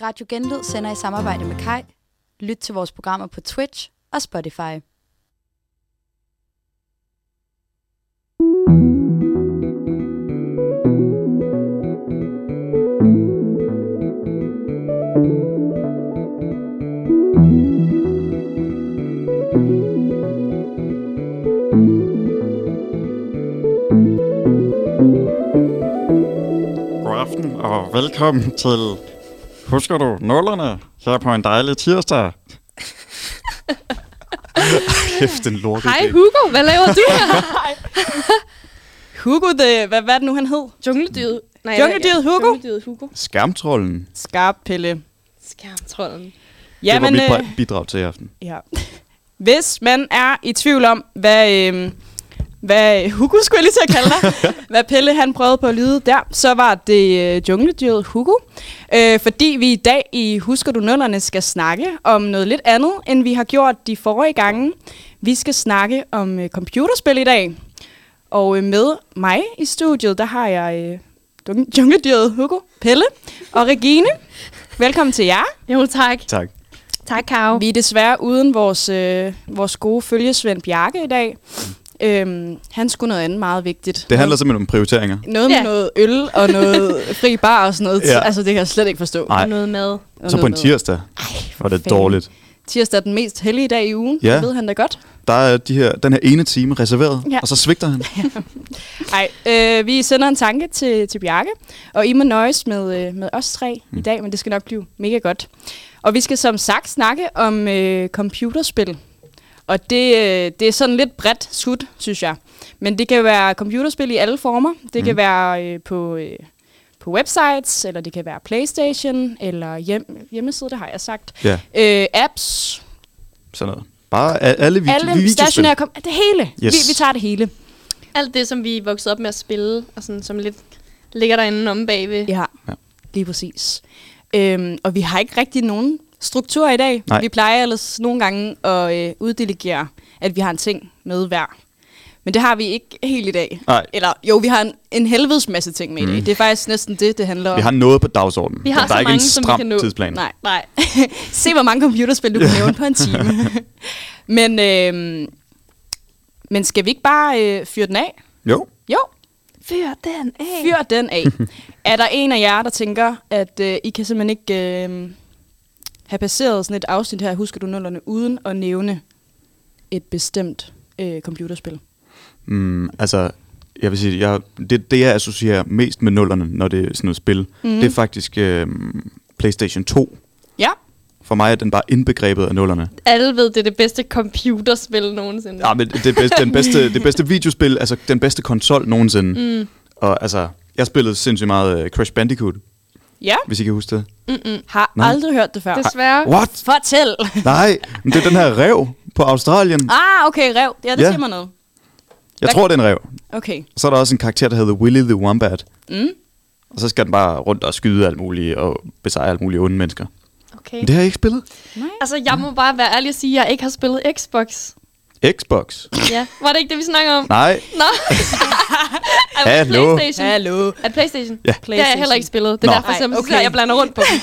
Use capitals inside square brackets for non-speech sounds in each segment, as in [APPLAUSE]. Radio Genlyd sender i samarbejde med Kai. Lyt til vores programmer på Twitch og Spotify. God aften og velkommen til Husker du nullerne her på en dejlig [LAUGHS] tirsdag? Kæft, en lortet Hej idé. Hugo, hvad laver du her? Hugo, the, hvad, hvad er det nu, han hed? Jungledyret. Nej, Jungledyret hvad- ja, Hugo? Jungledyret Hugo. Skærmtrollen. Skarp Pelle. Skærmtrollen. Ja, det var Jamen, mit øh, bra- bidrag til i aften. ja. hvis man er i tvivl om, hvad, øh, hvad Hugo skulle jeg lige til at kalde dig, hvad Pelle han prøvede på at lyde der, så var det øh, jungledyret Hugo. Øh, fordi vi i dag i Husker du nullerne skal snakke om noget lidt andet, end vi har gjort de forrige gange. Vi skal snakke om øh, computerspil i dag. Og øh, med mig i studiet, der har jeg øh, jung- jungledyret Hugo, Pelle og Regine. Velkommen til jer. Jo, tak. Tak. Tak, Karo. Vi er desværre uden vores, øh, vores gode følgesvend Bjarke i dag. Øhm, han skulle noget andet meget vigtigt. Det handler simpelthen om prioriteringer. noget med Ja. noget øl og noget fri bar og sådan noget. Ja. Ja. Altså, det kan jeg slet ikke forstå. Nej, Og noget mad. Og så noget på en med- tirsdag var det fanden. dårligt. Tirsdag er den mest hellige dag i ugen. Ja. Det ved han da godt. Der er de her, den her ene time reserveret, ja. Ja. og så svigter han. Nej, øh, vi sender en tanke til, til Bjarke, og I må nøjes med, øh, med os tre mm. i dag, men det skal nok blive mega godt. Og vi skal som sagt snakke om øh, computerspil. Og det, øh, det er sådan lidt bredt skud, synes jeg. Men det kan være computerspil i alle former. Det mm. kan være øh, på, øh, på websites, eller det kan være Playstation, eller hjem, hjemmeside, det har jeg sagt. Ja, Øh, apps, sådan noget. Bare a- alle, vi- alle videospil. stationære... Kom- det hele. Yes. Vi, vi tager det hele. Alt det, som vi er vokset op med at spille, og sådan, som lidt ligger derinde om bagved. Ja, Ja. ja. lige præcis. Øhm, og vi har ikke rigtig nogen struktur i dag. Nej. Vi plejer ellers nogle gange at øh, uddelegere, at vi har en ting med hver. Men det har vi ikke helt i dag. Nej. Mm. Eller jo, vi har en, en helvedes masse ting med i dag. Det er faktisk næsten det, det handler om. Vi har noget på dagsordenen. Vi har der så er ikke mange, en som vi stram kan nå. tidsplan. Nej. [LAUGHS] Nej. Se, hvor mange computerspil du kan nævne på en [LAUGHS] time. men, øh, men skal vi ikke bare øh, fyre den af? Jo, Jo, Fyr den af. Fyr den [LAUGHS] af. er der en af jer, der tænker, at øh, I kan simpelthen ikke øh, have passeret sådan et afsnit her, husker du nullerne, uden at nævne et bestemt øh, computerspil? Mm, altså, jeg vil sige, jeg, det, det jeg associerer mest med nullerne, når det er sådan noget spil, mm. Mhm. det er faktisk øh, PlayStation 2. Ja. For mig er den bare indbegrebet af nullerne. Alle ved, det er det bedste computerspil nogensinde. Ja, men det, bedste, den bedste, det bedste videospil, altså den bedste konsol nogensinde. Mm. Og altså, jeg spillede sindssygt meget øh, Crash Bandicoot, Ja. hvis I kan huske det. Har Nej. aldrig hørt det før. Desværre. What? Fortæl! Nej, men det er den her rev på Australien. ah, okay, rev. Ja, det Ja. ja. siger mig noget. Jeg tror, det er en rev. Okay. Så er der også en karakter, der hedder Willy the Wombat. Mm. Og så skal den bare rundt og skyde alt muligt og besejre alt muligt onde Mm. mennesker. Okay. Men det har jeg ikke spillet. Altså, jeg må bare være ærlig og sige, at jeg ikke har spillet Xbox. Xbox. Ja. Var det ikke det, vi snakker om? Nej, Nå. Ej, var [LAUGHS] det Hallo. PlayStation. Hallo. Er det PlayStation? Ja. Det har jeg heller ikke spillet. Det Nå. er derfor, Ej, jeg, okay. okay. jeg blander rundt på dem.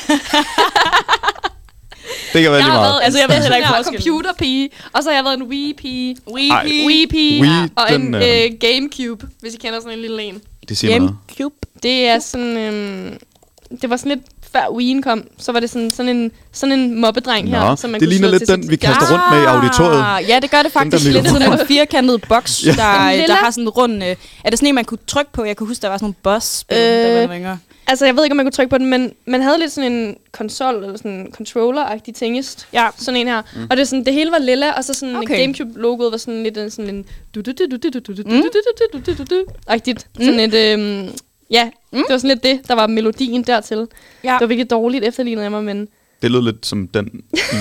det kan være Jeg lige har meget. været altså, jeg ved heller ikke forskellen. computerpige, og så har jeg været en Wii-pige, Ej. Wii. Wii-pige Wii, og en den, øh, øh, Gamecube, hvis I kender sådan en lille en. Det siger mig noget. Gamecube. Det er sådan... Øh, det var sådan lidt før Wii'en kom, så var det sådan, sådan, en, sådan en mobbedreng Nå, her. Som man det kunne ligner slå lidt til den, sit- vi kaster rundt med i auditoriet. Ah, Ja, det gør det faktisk mikrofon. lidt [LAUGHS] sådan en firkantet boks, ja. En der, lille. der har sådan en rund... Øh, er det sådan en, man kunne trykke på? Jeg kan huske, der var sådan nogle boss øh. der Øh. var ringer. Altså, jeg ved ikke, om man kunne trykke på den, men man havde lidt sådan en konsol, eller sådan en controller-agtig tingest. Ja. Sådan en her. Mm. Og det, er sådan, det hele var lilla, og så sådan Okay. okay. Gamecube-logoet var sådan lidt en- sådan en... Mm? Agtigt. Sådan Mm. et... øhm, Ja, det var sådan lidt det, der var melodien dertil. Ja. Det var virkelig dårligt efterlignet af mig, men... Det lød lidt som den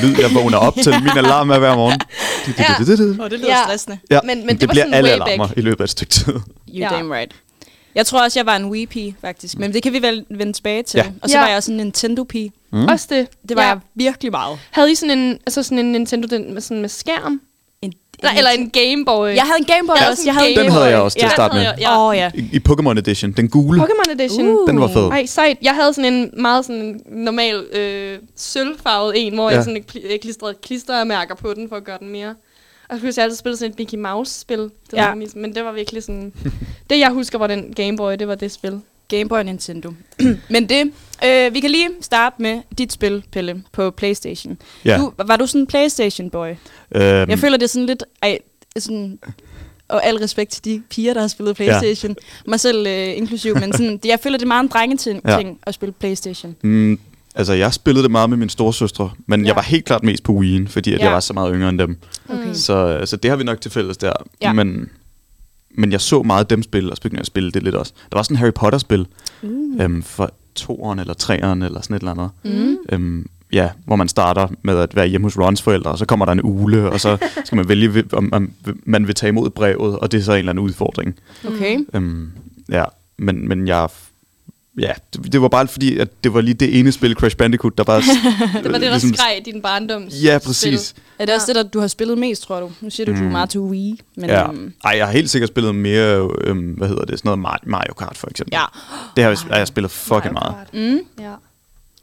lyd, jeg vågner op til. Min alarm er hver [LAUGHS] morgen. Åh, det lyder Ja. stressende. Ja, Men- men det var bliver sådan alle way alarmer back. i løbet af et stykke tid. You Ja. damn right. Jeg tror også, jeg var en Wii-pige, faktisk. Men det kan vi vel vende tilbage til. Ja. Ja. Og så Ja. var jeg også en Nintendo-pige. Mm. Også det. Det var ja. jeg virkelig meget. Havde I sådan en, altså sådan en Nintendo den med, sådan med skærm? En, Nej, eller en Gameboy. Jeg havde en Gameboy Jeg havde også. sådan Jeg havde en en Den Gameboy. havde jeg også til Ja, at den starte med. havde jeg- Åh, ja. oh, ja. I, I Pokémon Edition. Den gule, Pokémon Edition. Uh. den var fed. Ej, sejt. Jeg havde sådan en meget sådan normal øh, sølvfarvet en, hvor ja. Ja. jeg sådan kli- øh, klistrede klistermærker på den, for at gøre den mere. Og så kunne jeg altid spille sådan et Mickey Mouse-spil. Det var Ja. ja. men det var virkelig sådan... [LAUGHS] det, jeg husker, var den Game Boy, det var det spil. Game Boy og Nintendo. [CLEARS THROAT] Men det, øh, vi kan lige starte med dit spil, Pelle, på Playstation. Ja. Du, var du sådan en Playstation-boy? Mm. Øhm, Jeg føler, det er sådan lidt... Ej, sådan, og al respekt til de piger, der har spillet Playstation. Ja. Mig selv øh, inklusiv, men sådan, det- jeg føler, det er meget en drengeting Ja. ja. at spille Playstation. Mm, altså, jeg spillede det meget med mine storesøstre, men ja. Ja. jeg var helt klart mest på Wii'en, fordi at Ja. jeg var så meget yngre end dem. Okay. Så, så det har vi nok til fælles der. Ja. Men, men jeg så meget dem spille, og så begyndte jeg at spille det lidt også. Der var sådan en Harry Potter-spil mm. øhm, for toeren eller treeren eller sådan et eller andet. Uh. Mm. Øhm, ja, hvor man starter med at være hjemme hos Rons forældre, og så kommer der en ule, og så skal man vælge, hvil- om man, man vil tage imod brevet, og det er så en eller anden udfordring. Mm. Okay. Øhm, ja, men, men jeg... Ja, det, det var bare fordi, at det var lige det ene spil, Crash Bandicoot, der [LAUGHS] bare... Det var det, der skreg i din barndoms Øh, ligesom- Ja, præcis. Er det også det, der, du har spillet mest, tror du? Nu siger du, mm. du er Mm. meget til Wii. Men, Ja. øhm, Ej, jeg har helt sikkert spillet mere, øhm, hvad hedder det, sådan noget Mar- Mario Kart for eksempel. ja. Det har jeg, har jeg spillet fucking meget. Mm. Ja.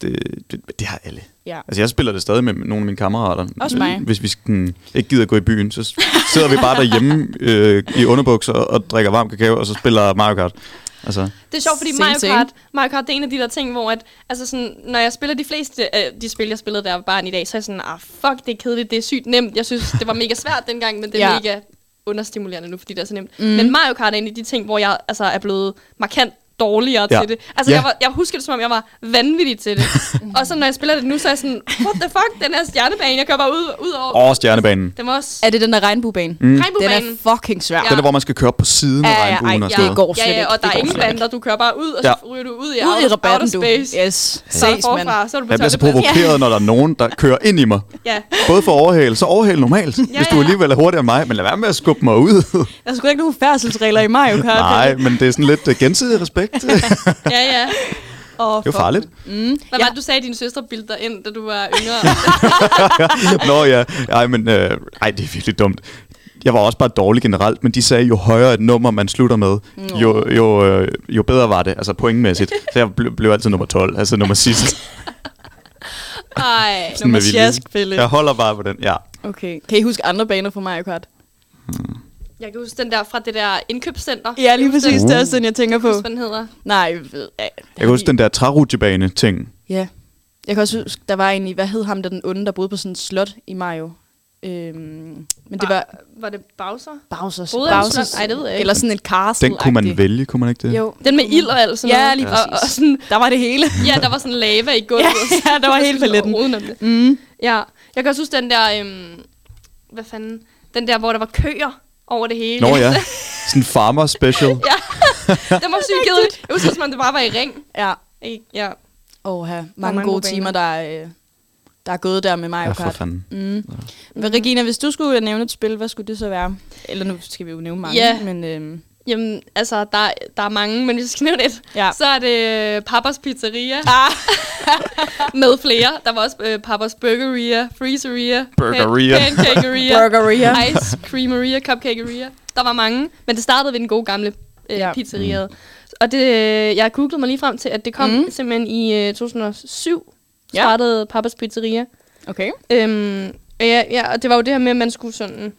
Det, det, det har alle. ja. Altså, jeg spiller det stadig med nogle af mine kammerater. Også mig. Hvis vi sådan, ikke gider gå i byen, så s- sidder vi bare [LAUGHS] derhjemme øh, i underbukser og drikker varm kakao, og så spiller Mario Kart. Altså, Det er sjovt, fordi Same, Mario same. Kart, Mario Kart det er en af de der ting, hvor at, altså sådan, når jeg spiller de fleste af de spil, jeg spillede, der var barn i dag, så er jeg sådan, ah fuck, det er kedeligt, det er sygt nemt. Jeg synes, det var mega svært dengang, men det er Ja. ja. mega understimulerende nu, fordi det er så nemt. Mm. Men Mario Kart er en af de ting, hvor jeg altså, er blevet markant dårligere ja. Ja. til det. Altså, Ja. jeg, var, jeg husker det, som om jeg var vanvittig [LAUGHS] til det. og så når jeg spiller det nu, så er jeg sådan, what the fuck, den her stjernebane, jeg kører bare ud, ud over. over stjernebanen. Den var også... Er det den der regnbuebane? Mm. Den er Regnbuebanen. fucking svær. Den der, hvor man skal køre op på siden af Ja, ja, ej, regnbuen og ja, sådan det noget. går slet Ja, ja, ikke. og der Det er går ingen slet ikke. bander, du kører bare ud, og så Ja. ryger du ud i, Ud i outer, rabatten, outer du. space. Yes. Så er du Ses, mand. forfra, så er du på Jeg bliver så toppen. provokeret, når der er nogen, der kører ind i mig. Ja. Både for at overhale, så overhale normalt, ja, hvis du ja. alligevel er hurtigere end mig. Men lad være med at skubbe mig [LAUGHS] ud. Der er sgu ikke nogen færdselsregler i Mario Kart. Nej, men det er sådan lidt øh, gensidig [LAUGHS] respekt. det ja, ja. Oh, er jo farligt. Hvad Ja. ja. var det, du sagde, at dine søstre bildte dig ind, da du var [LAUGHS] yngre? Nå ja, ej, men øh, ej, det er virkelig dumt. Jeg var også bare dårlig generelt, men de sagde, jo højere et nummer man slutter med, jo, jo, øh, jo bedre var det, altså pointmæssigt. Så jeg blev, blev altid nummer 12, altså nummer sidst. [LAUGHS] sådan Ej. Nummer [LAUGHS] med vilje. sjask, Pelle. Jeg holder bare på den, ja. Okay. Kan I huske andre baner fra Mario Kart? Jeg kan huske den der fra det der indkøbscenter. Ja, lige præcis. Uh. Det er også den, jeg tænker på. Husk, hvad den hedder. Nej, jeg ved... ja, Jeg kan huske den der trærutjebane-ting. Ja. Jeg kan også huske, der var en i... Hvad hed ham, der den onde, der boede på sådan et slot i Mario? Øhm, men det var... Var det Bowser? Bowser's. Boede han på Bowser's- slot? Ej, det ved jeg ikke. Eller sådan et castle Den kunne man vælge, kunne man ikke det? Jo. Den med ild og alt sådan Ja, noget. lige og, og præcis. sådan, Der var det hele. ja, der var sådan lava i gulvet. [LAUGHS] Ja, ja, der var hele paletten. Mm. Ja, jeg kan også huske den der, øhm, hvad fanden, den der, hvor der var køer over det hele. Nå ja, sådan en farmer special. ja, [LAUGHS] den var sygt kedelig. Jeg husker, som om det bare var i ring. Ja. Ikke? Ja. Åh, ja. mange mange gode gode baner. timer, der er, øh, der er gået der med Mario Ja, Kart. for fanden. Mm. Men Regina, hvis du skulle nævne et spil, hvad skulle det så være? Eller nu skal vi jo nævne mange, Ja. men øhm, Jamen, altså, der, der er mange, men hvis jeg skal nævne et, Ja. ja. så er det øh, Papas Pizzeria. Ah. [LAUGHS] med flere. Der var også øh, Papas Burgeria, Freezeria, Burgeria. Pan- Pancakeria, Burgeria. Ice Creameria, Cupcakeria. Der var mange, men det startede ved den gode gamle øh, Ja. ja. pizzeria. Og det, øh, jeg googlede mig lige frem til, at det kom Mm. mm. simpelthen i øh, 2007, Ja. startede Papas Pizzeria. okay. Øhm, og ja, ja, og det var jo det her med, at man skulle sådan,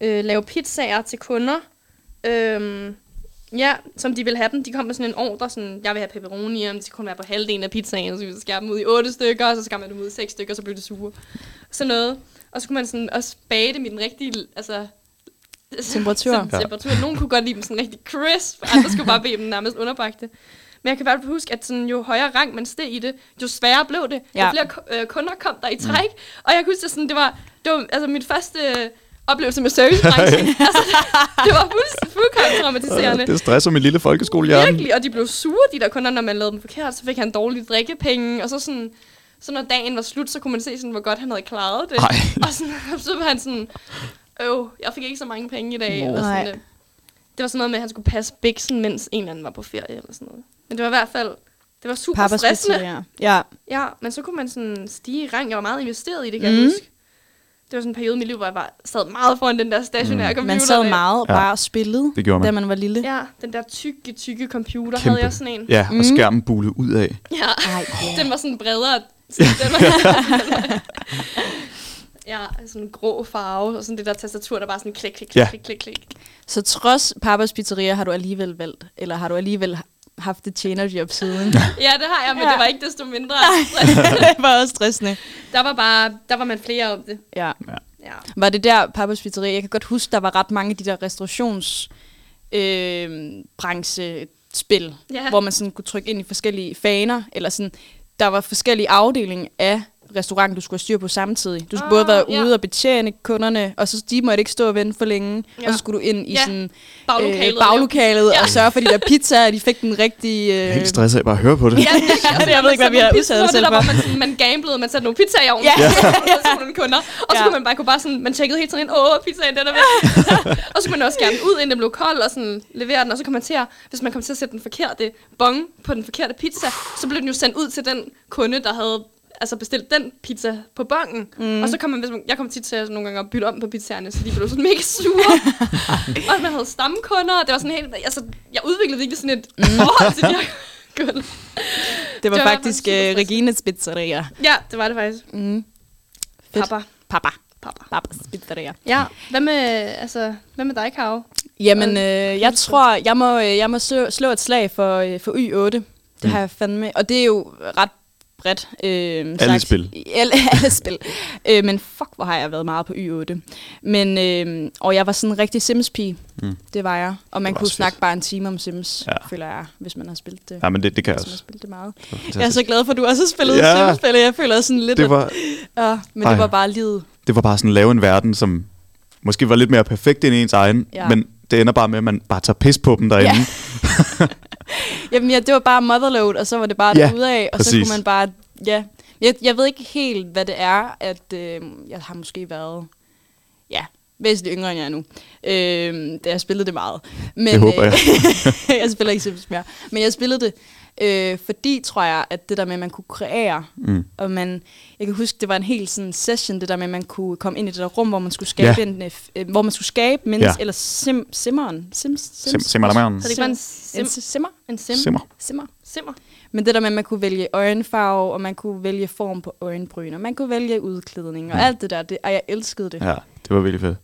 øh, lave pizzaer til kunder. Øhm, ja, som de ville have dem. De kom med sådan en ordre, sådan, jeg vil have pepperoni, og de kunne være på halvdelen af pizzaen, og så ville vi skære dem ud i otte stykker, og så skar man dem ud i seks stykker, og så blev det sure. Sådan noget. Og så kunne man sådan også bage dem i den rigtige, altså... Temperatur. sådan Ja. Temperatur. Nogen kunne godt lide dem sådan rigtig crisp, andre skulle bare bede dem nærmest underbagte. Men jeg kan bare huske, at sådan, jo højere rang man steg i det, jo sværere blev det. Ja. Jo flere ku- øh, kunder kom der i træk. Mm. Og jeg kan huske, at sådan, det var, det var altså, min første øh, oplevelse med servicebranchen. altså, det var fuldstændig fuldkommen traumatiserende. Det stresser min lille folkeskolehjerne. Virkelig, og de blev sure, de der kunder, når man lavede dem forkert. Så fik han dårlige drikkepenge, og så sådan... Så når dagen var slut, så kunne man se, sådan, hvor godt han havde klaret det. Ej. [LAUGHS] Og sådan, så var han sådan, øv, jeg fik ikke så mange penge i dag. Nå. Eller sådan, Nej. øh. det var sådan noget med, at han skulle passe biksen, mens en eller anden var på ferie. Eller sådan noget. Men det var i hvert fald, det var super Papas stressende. Pizzeria. Ja. Mhm. Ja, men så kunne man sådan stige i rang. Jeg var meget investeret i det, kan mm. jeg huske. Det var sådan en periode i mit liv, hvor jeg bare sad meget foran den der stationære Mhm. mm. computer. Man sad der. meget og Ja. bare spillede, Det gjorde man. da man var lille. Ja, den der tykke, tykke computer Kæmpe. Kæmpe. havde jeg sådan en. Ja, og skærmen bulede ud af. Ja. Ej, Den var sådan bredere. Så den var, ja, sådan en grå farve, og sådan det der tastatur, der bare sådan klik, klik, klik, Ja. klik, klik, klik. Så trods Papas Pizzeria har du alligevel valgt, eller har du alligevel haft et tjenerjob siden. [LAUGHS] Ja, det har jeg, men Ja. ja. det var ikke desto mindre. det var også stressende. der var bare, der var man flere om det. Ja. Ja. Var det der Papas Pizzeria? Jeg kan godt huske, der var ret mange af de der restaurations øh, branchespil, Ja. hvor man sådan kunne trykke ind i forskellige faner, eller sådan, der var forskellige afdelinger af restaurant, du skulle have styr på samtidig. Du skulle Ah, både være ude ja. og betjene kunderne, og så de måtte ikke stå og vente for længe, ja. Ja. og så skulle du ind i Ja. sådan Baglokalet. øh, baglokalet ja. Ja. og sørge for de der pizzaer, de fik den rigtige... øh, Jeg er helt stresset af bare at høre på det. Ja, det, det- [LAUGHS] jeg ved ikke, hvad vi har udsat os selv selv for. for. Man, sådan- man gamblede, man satte nogle pizzaer i ovnen, Ja. ja. og [LAUGHS] så nogle kunder. Og så Ja. kunne man bare kunne bare sådan, man tjekkede helt sådan ind, åh, pizzaen den er væk. [LAUGHS] og så kunne man også gerne ud, inden den blev kold, og sådan levere den. Og så kom man til at, hvis man kom til at sætte den forkerte bong på den forkerte pizza, så blev den jo sendt ud til den kunde, der havde altså bestilt den pizza på bongen. Mm. Og så kom man, hvis man, jeg kom tit til at nogle gange at bytte om på pizzaerne, så de blev sådan mega [LAUGHS] sure. og man havde stamkunder, og det var sådan helt, altså, jeg udviklede virkelig sådan et Mm. forhold til de her kunder. Det var Det var faktisk faktisk super øh, stressende. Regines Pizzeria. Ja, det var det faktisk. Mm. Fedt. Papa. Papa. Papa. Papas Pizzeria. Ja, hvad med, altså, hvad med dig, Karo? Jamen, øh, jeg tror, jeg må, øh, jeg må slå, slå et slag for, øh, for Y8. Det mm. har jeg fandme. Og det er jo ret bredt. Øh, Alle spil. [LAUGHS] Alle, alle spil. Øh, men fuck, hvor har jeg været meget på Y8. Men, øh, og jeg var sådan en rigtig Sims-pige. Mm. Det var jeg. Og man var kunne også snakke fedt. bare en time om Sims, Ja. ja. føler jeg, hvis man har spillet det. Ja, men det, det kan jeg Hvis man har også. spillet det meget. fantastisk. Jeg er så glad for, at du også har spillet Ja. ja. Sims-spil. og Jeg føler sådan lidt, Det var, at, ja, men Ej. det var bare livet. det var bare sådan at lave en verden, som måske var lidt mere perfekt end ens egen, Ja. men det ender bare med, at man bare tager pis på dem derinde. Ja. Jamen ja, det var bare motherload, og så var det bare Ja, ja, derudad, og så præcis. kunne man bare, ja. Jeg, jeg ved ikke helt, hvad det er, at øh, jeg har måske været, ja, væsentligt yngre end jeg er nu. Øh, da jeg spillede det meget. Men, Det håber jeg. Øh, [LAUGHS] jeg spiller ikke Sims mere, men jeg spillede det, øh, fordi tror jeg, at det der med, at man kunne kreere, mm. og man, jeg kan huske, det var en hel sådan session, det der med, at man kunne komme ind i det der rum, hvor man skulle skabe, Ja. ja. en, øh, f- øh, hvor man skulle skabe mennesker, Ja. ja. eller sim, simmeren, sims, sims, Sim- simmerlameren. Så det ikke var en en sim- simmer, En sim? Simmer. simmer. Simmer. Men det der med, at man kunne vælge øjenfarve, og man kunne vælge form på øjenbryn, og man kunne vælge udklædning, og alt det der, det, og jeg elskede det. Ja. Ja, det var virkelig fedt.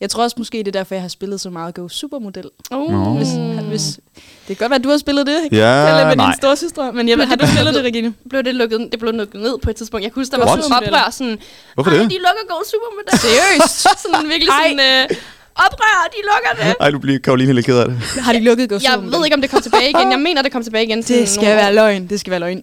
Jeg tror også måske, det er derfor, jeg har spillet så meget Go Supermodel. Uh. Nå. Hvis, hvis, det kan godt være, at du har spillet det, ikke? Ja, Eller med nej. din storsøstre, men jeg, Men har det du blev spillet det, lukket- Regine? Blev det, lukket, det blev lukket ned på et tidspunkt. Jeg kan huske, der var What? sådan et oprør, sådan, Hvorfor "Ej, det? de lukker Go Supermodel. Seriøst? [LAUGHS] sådan virkelig sådan, øh, oprør, de lukker det. Ej, du bliver Karoline helt ked af det. [LAUGHS] Har de lukket Go Jeg Supermodel? ved ikke, om det kom tilbage igen. Jeg mener, det kom tilbage igen. sådan Det skal nogle år. være løgn, det skal være løgn.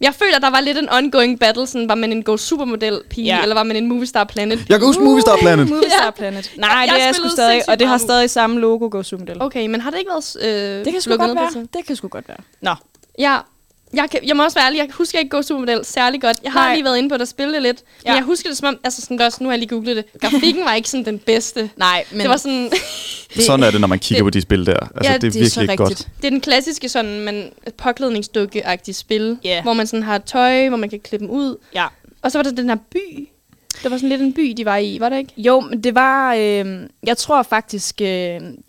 Jeg føler, der var lidt en ongoing battle. Sådan, var man en Go Supermodel-pige, Ja. ja. eller var man en Movie Star Planet? Jeg kan huske Movie Star Planet. Movie Star Ja. Uh, Planet. Nej, Jeg det er sgu spillede stadig, sindssygt og det har meget. stadig samme logo, Go Supermodel. Okay, men har det ikke været øh, Det kan sgu lukket godt ned på et være. Det kan sgu godt være. Nå, Ja, jeg, kan, jeg må også være ærlig, jeg husker ikke Go Supermodel særlig godt. Jeg har Nej. Nej. lige været inde på det og spillet lidt, ja. Ja. men jeg husker det som om, altså sådan det er også, nu har jeg lige googlet det, grafikken var ikke sådan den bedste. Men, nej, men det var sådan, det- Sådan er det, når man kigger det- på de spil der. Altså, det er virkelig ikke godt. det er den klassiske sådan, man, påklædningsdukke-agtige spil, Ja. hvor man sådan har tøj, hvor man kan klippe dem ud. Ja, Og så var der den her by. Det var sådan lidt en by, de var i, var det ikke? Jo, men det var, øh, jeg tror faktisk, øh,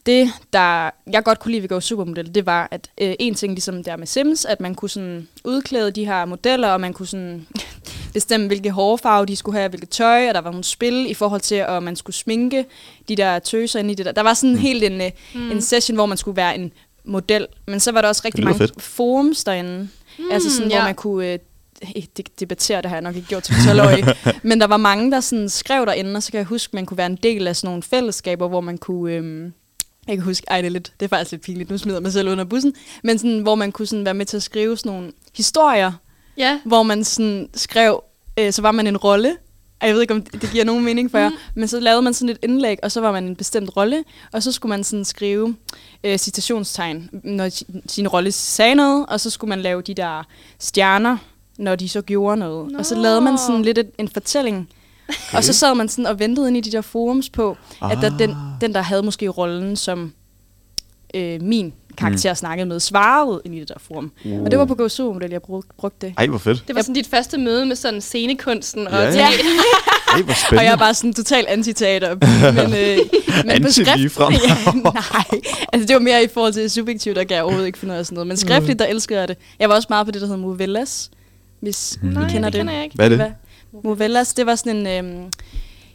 det der, jeg godt kunne lide ved Go Supermodel, det var, at øh, en ting ligesom der med Sims, at man kunne sådan udklæde de her modeller, og man kunne sådan [LAUGHS] bestemme, hvilke hårfarve de skulle have, hvilket tøj, og der var nogle spil i forhold til, om man skulle sminke de der tøser ind i det der. Der var sådan helt en, øh, mm. en session, hvor man skulle være en model, men så var der også rigtig lyder mange fedt. forums derinde, mm, altså sådan, ja. ja. hvor man kunne øh, ikke de- debattere, det har jeg nok ikke gjort til 12 men der var mange, der sådan skrev derinde, og så kan jeg huske, man kunne være en del af sådan nogle fællesskaber, hvor man kunne... Øhm, jeg kan huske, ej, det er, lidt, det er faktisk lidt pinligt, nu smider jeg mig selv under bussen, men sådan, hvor man kunne sådan være med til at skrive sådan nogle historier, Ja. hvor man sådan skrev, øh, så var man en rolle, og jeg ved ikke, om det det giver nogen mening for jer, men så lavede man sådan et indlæg, og så var man en bestemt rolle, og så skulle man sådan skrive øh, citationstegn, når si- sin rolle sagde noget, og så skulle man lave de der stjerner, når de så gjorde noget. Nå. Og så lavede man sådan lidt et, en fortælling, okay. Ah. og så sad man sådan og ventede ind i de der forums på, at der, den, den, der havde måske rollen som øh, min karakter mm. snakkede med, svarede ind i det der forum. Uh. Og det var på GoSum, det jeg brug, brugte det. Ej, hvor fedt. Det var sådan dit første møde med sådan scenekunsten. Og Ja, ja. ja. Ej, hvor Og jeg er Øh, spændende. bare sådan total antiteater. Men, øh, men på [LAUGHS] Anti skrift... ligefrem. [LAUGHS] ja, nej, altså det var mere i forhold til subjektivt, der kan jeg overhovedet ikke finde ud af sådan noget. Men Mm. skriftligt, der elsker jeg det. Jeg var også meget på det, der hedder Movellas, hvis mm. I Nej, kender det det. kender jeg ikke. Hvad er det? Hvad? Movellas, det var sådan en... Øh,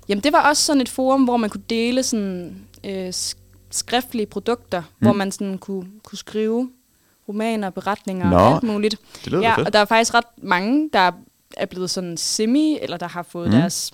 jamen, det var også sådan et forum, hvor man kunne dele sådan, øh, sk- skriftlige produkter, mm. hvor man sådan kunne, kunne skrive romaner, beretninger Nå, og alt muligt. det lyder da ja, fedt. og der er faktisk ret mange, der er blevet sådan semi, eller der har Mhm. fået mm. deres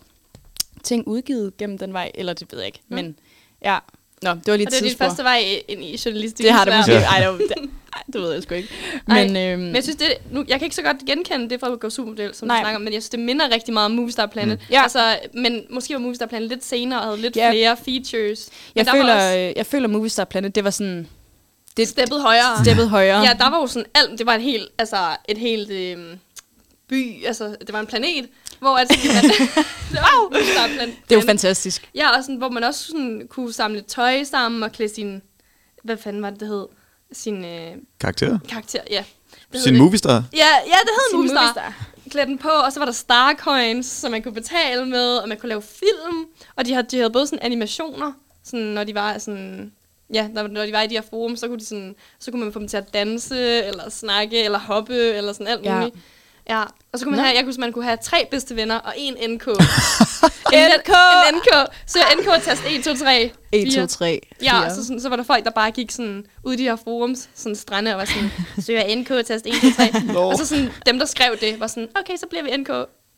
ting udgivet gennem den vej, eller det ved jeg ikke, mm. men ja. Nå, det var lige Og det er din tidsspor. første vej ind i journalistik. Det har det desværre. måske. Ja. Ej, det, var, det, ej, det ved jeg sgu ikke. Ej, Men, øhm, Men jeg synes, det, nu, jeg kan ikke så godt genkende det fra GoSupermodel, som Nej. Nej. du snakker om, men jeg synes, det minder rigtig meget om Movistar Planet. Mm. Ja. Altså, men måske var Movistar Planet lidt senere og havde lidt Ja. flere features. Men jeg, der føler, var også øh, jeg føler Movistar Planet, det var sådan... et steppet højere. steppet højere. Ah. Ja, der var jo sådan alt, det var en helt, altså et helt øh, by, altså det var en planet, hvor at sådan, [LAUGHS] man, det var jo Movistar Planet. det var fantastisk. Ja, og sådan, hvor man også sådan, kunne samle tøj sammen og klæde sin, hvad fanden var det, det hed? Sin øh, Karakterer? karakter, ja. Hvad hed Sin det? moviestar? Ja, ja, det hed Sin Movistar. Movistar. Klæd den på, og så var der Star Coins, som man kunne betale med, og man kunne lave film, og de havde, de havde både sådan animationer, sådan, når de var sådan... Ja, når, når de var i de her forum, så kunne, de sådan, så kunne man få dem til at danse, eller snakke, eller hoppe, eller sådan alt Ja. muligt. Ja. Og så kunne man Nå. have, jeg kunne, man kunne have tre bedste venner og en [LAUGHS] NK. en, NK! En NK! Så NK-tast 1, 2, 3, 1, 4. 2, 3, Ja, og så, sådan, så var der folk, der bare gik sådan, ud i de her forums, sådan strande, og var [LAUGHS] sådan, søger NK, tast 1, 2, 3. Nå. og så sådan, dem, der skrev det, var sådan, okay, så bliver vi NK,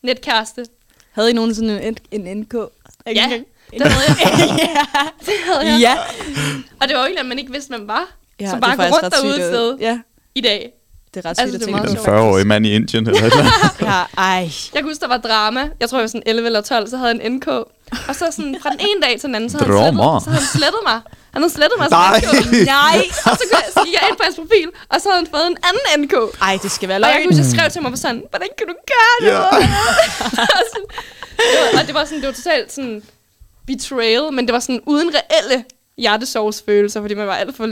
netkæreste. Havde I nogen sådan en, en NK? Ja, det havde [LAUGHS] jeg. [LAUGHS] det havde jeg. ja. Og det var jo ikke, at man ikke vidste, hvem man var. ja så bare gå rundt derude et sted Ja, i dag. det er ret Altså, sygt det at er tænke meget En sjovt. 40-årig mand i Indien? Eller hvad? [LAUGHS] på. Ja, ej. Jeg kunne huske, der var drama. Jeg tror, jeg var sådan 11 eller 12, så havde jeg en NK. Og så sådan, fra den ene dag til den anden, så havde, han Drama. slettet, så havde han slettet mig. Han havde slettet mig som Nej. NK. [LAUGHS] Nej. Og så, kunne jeg, så gik jeg ind på hans profil, og så havde han fået en anden NK. Ej, det skal være Og jeg løgn. [LAUGHS] kunne huske, jeg skrev til mig på sådan, hvordan kan du gøre det? Ja. [LAUGHS] Og sådan- det var, og det var sådan, det var totalt sådan betrayal, men det var sådan uden reelle hjertesorgsfølelser, fordi man var alt for,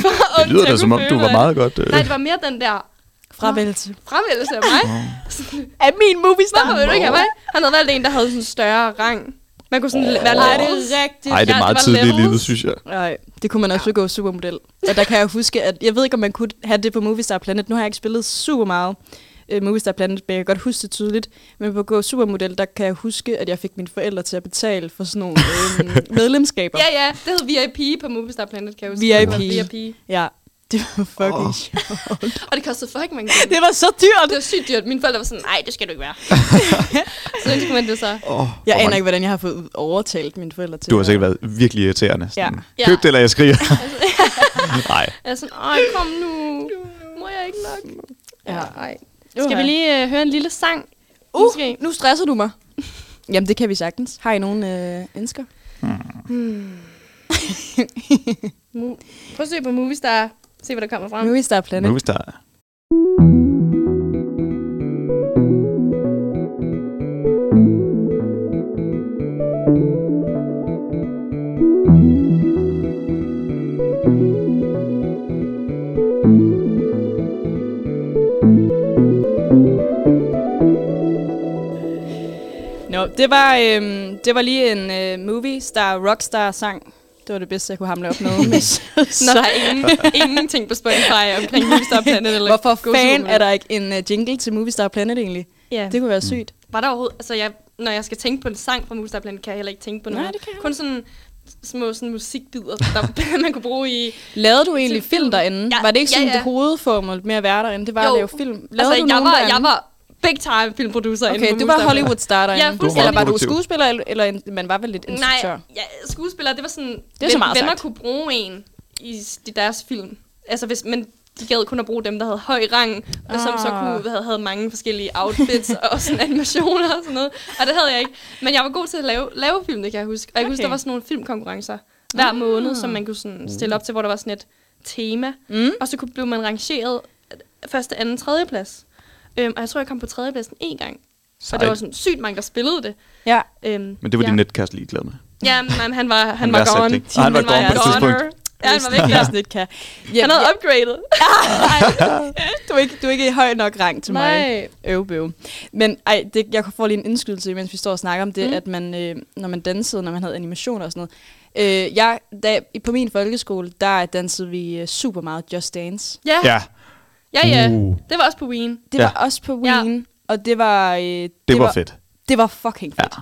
for ung [LAUGHS] Det lyder til da at som om, kunne du føle, var at- meget godt... øh, Nej, det var mere den der Fravælse. fravælgelse af mig. Af min movie star. Hvorfor vil du ikke have mig? Han havde valgt en, der havde sådan en større rang. Man kunne sådan oh. være Ej, det levels. er rigtigt. Ej, det er Ja, meget det var tidligt i levels. livet, synes jeg. Nej, det kunne man også ja. gå supermodel. Og der kan jeg huske, at jeg ved ikke, om man kunne have det på Movistar Planet. Nu har jeg ikke spillet super meget øh, Movistar Planet, men jeg kan godt huske det tydeligt. Men på gå supermodel, der kan jeg huske, at jeg fik mine forældre til at betale for sådan nogle [LAUGHS] øh, medlemskaber. Ja, ja, det hed VIP på Movistar Planet, kan VIP. jeg huske. Det var VIP. ja. Det var fucking Åh. oh. sjovt. Og det kostede fucking mange penge. Det var så dyrt. Det var sygt dyrt. Mine forældre var sådan, nej, det skal du [LAUGHS] ikke være. så det kunne man det så. Oh, Jeg aner ikke, hvordan jeg har fået overtalt mine forældre til Du har det. sikkert været virkelig irriterende. Sådan, Ja. Køb det, eller jeg [LAUGHS] skriger. [LAUGHS] Nej. Jeg er sådan, ej, kom nu. Må jeg ikke nok? Ja. ej. Uha. Skal vi lige øh, høre en lille sang? Uh, [LAUGHS] Måske. nu stresser du mig. Jamen, det kan vi sagtens. Har I nogen øh, ønsker? Mu- Prøv at søge på Movistar. Se, hvad der kommer frem. Movistar Planet. Movistar. Nå, det var, øhm, det var lige en øh, movie star rockstar sang. Det var det bedste, jeg kunne hamle op [LAUGHS] med. Men så, Nå, der så er [LAUGHS] ingen, ingenting på Spotify omkring Movistar Planet. Eller hvorfor Go fan Zulu. er der ikke en øh, jingle til Movie Star Planet egentlig? Ja. Det kunne være sygt. Var der overhovedet... Altså, jeg, når jeg skal tænke på en sang fra Movistar Planet, kan jeg heller ikke tænke på Nej, noget. det kan jeg Kun sådan små sådan musikbider, der [LAUGHS] man kunne bruge i... Lavede du egentlig Til film. film derinde? Ja, var det ikke ja, sådan ja. det hovedformål med at være derinde? Det var Jo. at lave film. Lavede du altså, jeg nogen var, derinde? jeg var big time filmproducer inde på Okay, du Movistar var Planet. Hollywood star derinde. Ja, fuldstændig. eller var du Produktiv. skuespiller, eller- eller en, man var vel lidt instruktør? Nej, ja, skuespillere, det var sådan, er så ven- meget venner sagt. kunne bruge en i s- i deres film. Altså, hvis, men de gad kun at bruge dem, der havde høj rang, og som så Ah. kunne, havde, havde mange forskellige [LAUGHS] outfits og sådan animationer og sådan noget. Og det havde jeg ikke. Men jeg var god til at lave, lave film, det kan jeg huske. Og jeg okay. huske, Okay. der var sådan nogle filmkonkurrencer hver ah. måned, som man kunne sådan stille op til, hvor der var sådan et tema. Mm. Og så kunne, blev man rangeret første, anden, tredje plads. Øhm, og jeg tror, jeg kom på tredje pladsen én gang. Sejt. Og Sejt. der var sådan sygt mange, der spillede det. Ja. Øhm, Men det var ja. din netkast ligeglad med. Ja, men han var, han Han var værdsatte gone. det ikke. Ah, han var gone på det goner. Ja, han var væk. Jeg sådan ikke kan. Jamen, Han havde [LAUGHS] upgradet. ej, du, er ikke, du er ikke i høj nok rang til mig. Nej. Øv, bøv. Men ej, det, jeg får lige en indskydelse, mens vi står og snakker om det, Mm. mm. at man, øh, når man dansede, når man havde animationer og sådan noget. Øh, jeg, da, på min folkeskole, der dansede vi øh, super meget Just Dance. Ja, Ja, ja, ja. Uh. Det var også på Wien. Det Ja. ja. var også på Ja. Wien, ja. og det var... Øh, det, det var fedt. Det var fucking fedt. Ja.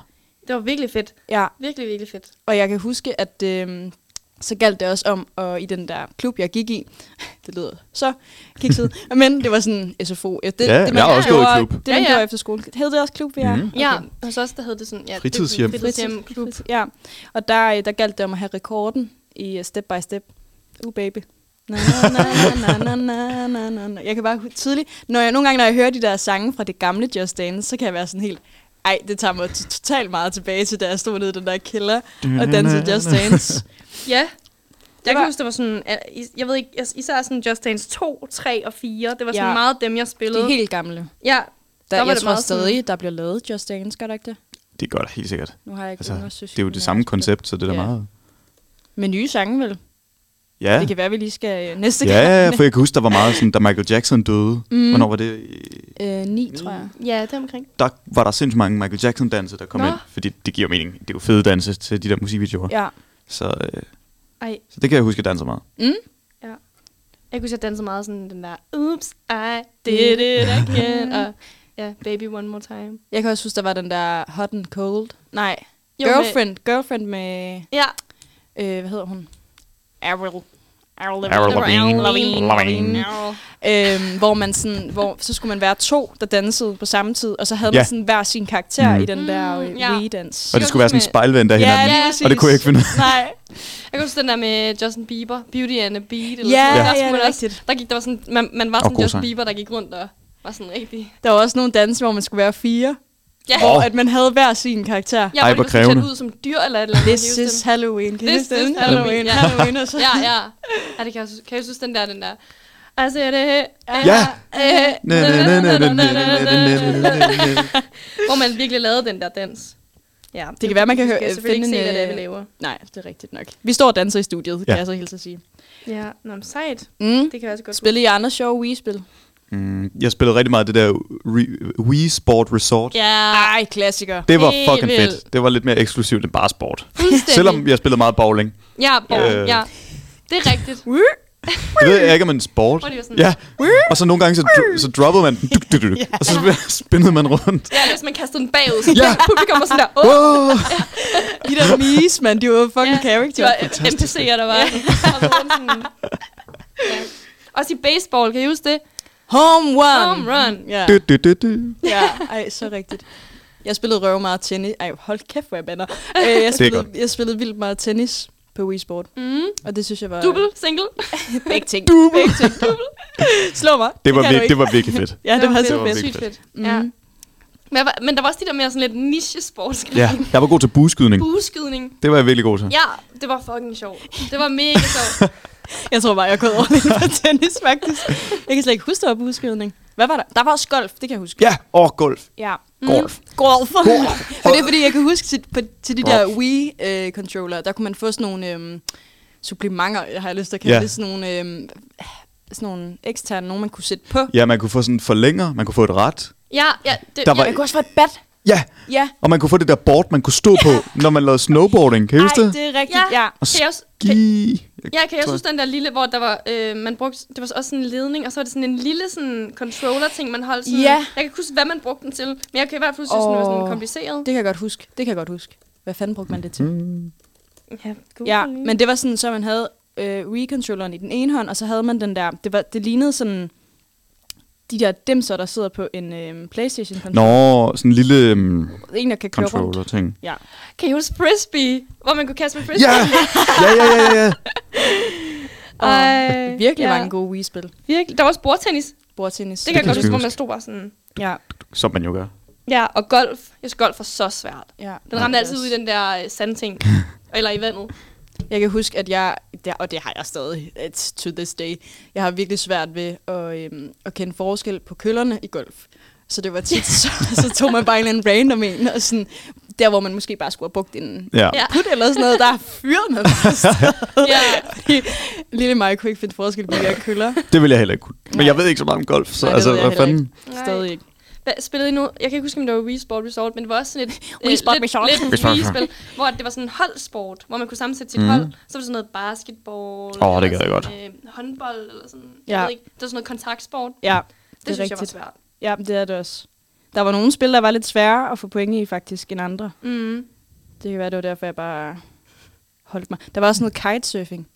Det var virkelig fedt. Ja. ja. Virkelig, virkelig fedt. Og jeg kan huske, at øh, så galt det også om, og i den der klub, jeg gik i, [LAUGHS] det lyder så [LAUGHS] kikset, men det var sådan SFO. Ja, Det, Ja, det, jeg har også gået i klub. Det, man Ja, ja. gjorde efter skole. Hed det også klub, vi er? Mhm. Okay. Ja, hos os, der hed det sådan... Ja, det er sådan Fritidshjem. Fritidshjem. Klub. Ja, og der, øh, der galt det om at have rekorden i øh, Step by Step. Uh, baby. Na, na, na, na, na, na, na, na, na. Jeg kan bare hu- tydeligt, når jeg, nogle gange, når jeg hører de der sange fra det gamle Just Dance, så kan jeg være sådan helt, ej, det tager mig t- totalt meget tilbage til, da jeg stod nede i den der kælder og dansede Just Dance. Ja. Jeg var- kan huske, det var sådan, at is- jeg ved ikke, is- især sådan Just Dance 2, 3 og 4, det var sådan Ja. meget dem, jeg spillede. De helt gamle. Ja, Der, Der var jeg det tror meget sådan- stadig, der bliver lavet Just Dance, gør der ikke det? Det gør der helt sikkert. Nu har jeg ikke Altså, undersøgt det er jo det samme koncept, så det er da Ja. meget... Med nye sange, vel? Ja. Det kan være, vi lige skal øh, næste Ja, ja, ja, gang. for jeg kan huske, der var meget sådan, da Michael Jackson døde. Mm. Hvornår var det? Øh, ni, tror jeg. ja det er omkring. Der var der sindssygt mange Michael Jackson-danse, der kom Nå. Nå. ind. Fordi det giver mening. Det er jo fede danse til de der musikvideoer. Ja. Så, øh, Ej, så det kan jeg huske, at danser meget. Mm? ja. Jeg kan huske, jeg dansede meget sådan den der, oops, I did it [LAUGHS] again, og ja, baby one more time. Jeg kan også huske, der var den der Hot and Cold. Nej, Jo, jo, Girlfriend. Med... Girlfriend med, Ja, øh, hvad hedder hun? Avril. Avril Avril Lavigne. Lavigne. Lavigne. Lavigne. Øhm, hvor man sådan, hvor så skulle man være to, der dansede på samme tid, og så havde Ja. man sådan hver sin karakter Mhm. i den der Mm, øh, ja. Wii-dans. Og det skulle være sådan en spejlvendt af hinanden. Ja, og det kunne jeg ikke finde ud af. Nej. Jeg kan huske den der med Justin Bieber, Beauty and a Beat. Eller Ja, sådan noget. ja, der, skulle det man er også, rigtigt. der gik, der var sådan, man, man var Og sådan god Justin sang. Bieber, der gik rundt og var sådan rigtig... Der var også nogle danse, hvor man skulle være fire, Ja, Åh. og at man havde hver sin karakter. jeg Ej, var hvor lige pludselig krævende. klædt ud som dyr eller et eller andet. This kan jeg is huske Halloween. Kan I This huske is den? Halloween, ja. Halloween og så. den. Ja, ja. Ja, det kan jeg, kan jeg synes, den der, den der... I said it, eh, eh, Ja. eh, Næ, næ, næ, næ, næ, næ, næ, næ, næ, næ, næ, næ. [LAUGHS] Hvor man virkelig lavede den der dans. Ja, Det kan være, man kan høre- Vi skal selvfølgelig finde ikke se, en, hvad det er, vi øh, laver. Nej, det er rigtigt nok. Vi står og danser i studiet, kan Ja. jeg så helt at sige. Ja, nå, men sejt. Mm. Det kan jeg også godt Spille i andre sjove Wii-spil. Mm, Jeg spillede rigtig meget det der re- Wii Sport Resort. Ja, Ej, klassiker. Det var Helt fucking vildt. fedt. Det var lidt mere eksklusivt end bare sport. fuldstændig. Selvom jeg spillede meget bowling. Ja, borgen, Øh. ja. Det er rigtigt. Det ved jeg ikke, om en sport. Hvor det var sådan- Ja, og så nogle gange, så, dro- så droppede man den, duk, duk, [LAUGHS] duk, og så [LAUGHS] spinnede man rundt. Ja, hvis man kastede den bagud, så Ja. ja. publikum var sådan der, åh, Åh, De der mies, man, de var fucking ja, character. Det var NPC'er, der var. Ja. [LAUGHS] ja. Også i baseball, kan I huske det? Home run. Home run. Ja. du, du, du, du. ja, ej, så rigtigt. Jeg spillede røv meget tennis. Ej, hold kæft, hvor jeg [LAUGHS] bander. Øh, jeg, spillede, godt. jeg spillede vildt meget tennis på Wii Sport. Mm. Og det synes jeg var... Double, single. Begge ting. Double. Begge ting. Double. Slå mig. Det var, kan du vir- ikke. det var virkelig fedt. Ja, det var Det så var fedt. virkelig Sygt fedt. Mm. Ja. Men, jeg var, men der var også de der mere sådan lidt niche sportsgrene. Ja, jeg var god til bueskydning. Bueskydning. Det var jeg virkelig god til. Ja, det var fucking sjovt. Det var mega sjovt. Jeg tror bare, jeg er gået over lidt på tennis, faktisk. Jeg kan slet ikke huske, der var buskydning. Hvad var der? Der var også golf, det kan jeg huske. Ja, og golf. ja. Golf. Golf. [LAUGHS] Men det er, fordi jeg kan huske til, på, til de der Wii-controller, der kunne man få sådan nogle øhm, supplementer, jeg har lyst til at kalde Ja. yeah. det, sådan nogle, øhm, sådan nogle eksterne, nogen man kunne sætte på. Ja, man kunne få sådan en forlænger, man kunne få et ret. Ja, ja. Det, Der var- ja, Man kunne også få et bat. Ja, Ja. og man kunne få det der board, man kunne stå [LAUGHS] på, når man lavede snowboarding. Kan I huske Ej, det? det er rigtigt, ja. ja. Og Kan jeg også, ski. Ja, kan jeg tror synes den der lille, hvor der var, øh, man brugte, det var også sådan en ledning, og så var det sådan en lille sådan controller-ting, man holdt sådan. Ja. Jeg kan ikke huske, hvad man brugte den til, men jeg kan i hvert fald synes, oh. den var sådan Åh. kompliceret. Det kan jeg godt huske. Det kan jeg godt huske. Hvad fanden brugte man det Mm. til? Ja, cool. Ja, men det var sådan, så man havde øh, Wii-controlleren i den ene hånd, og så havde man den der, det, var, det lignede sådan de der dimser, der sidder på en øh, Playstation-controller. Nå, sådan en lille um, En, der kan køre rundt. controller-ting. Ja. Kan I huske frisbee? Hvor man kunne kaste med frisbee? Ja! Ja, ja, ja, ja, ja. Og Ej, virkelig ja. ja. mange gode Wii-spil. Virkelig. Der var også bordtennis. Det, Bordtennis. det kan jeg kan godt jeg huske, hvor huske. man stod bare sådan. Ja, Som man jo gør. Ja, og golf. Jeg synes, golf var så svært. ja. Den ramte altid ud i den der øh, sandting. Eller [LAUGHS] i vandet. Jeg kan huske, at jeg, der, og det har jeg stadig it's to this day, jeg har virkelig svært ved at, øhm, at kende [LAUGHS] forskel på køllerne i golf. Så det var tit, så, så tog man bare en eller anden random en, og sådan, der hvor man måske bare skulle have brugt en Ja. Ja. put eller sådan noget, der er fyret med Ja. Fordi lille mig kunne ikke finde forskel på de her køller. Det vil jeg heller ikke kunne. Men Nej. jeg ved ikke så meget om golf, så Nej, det altså, ved jeg hvad heller fanden? Nej. Stadig ikke. Hvad, spillede I nu? Jeg kan ikke huske, om det var Wii Sport Resort, men det var også sådan et [LAUGHS] øh, Wii Sport lidt, Resort. lidt Resort, ja. Wii-spil, hvor det var sådan en holdsport, hvor man kunne sammensætte sit Mhm. mm. hold. Så var det sådan noget basketball. Åh, det eller gad jeg sådan, Øh, håndbold eller sådan. Ja. Jeg ved ikke. Det var sådan noget kontaktsport. Det, Ja, det, det synes er rigtigt. jeg var rigtigt. svært. ja, det er det også. Der var nogle spil, der var lidt sværere at få point i faktisk end andre. Mm. Det kan være, det var derfor, jeg bare holdt mig. Der var også noget kitesurfing,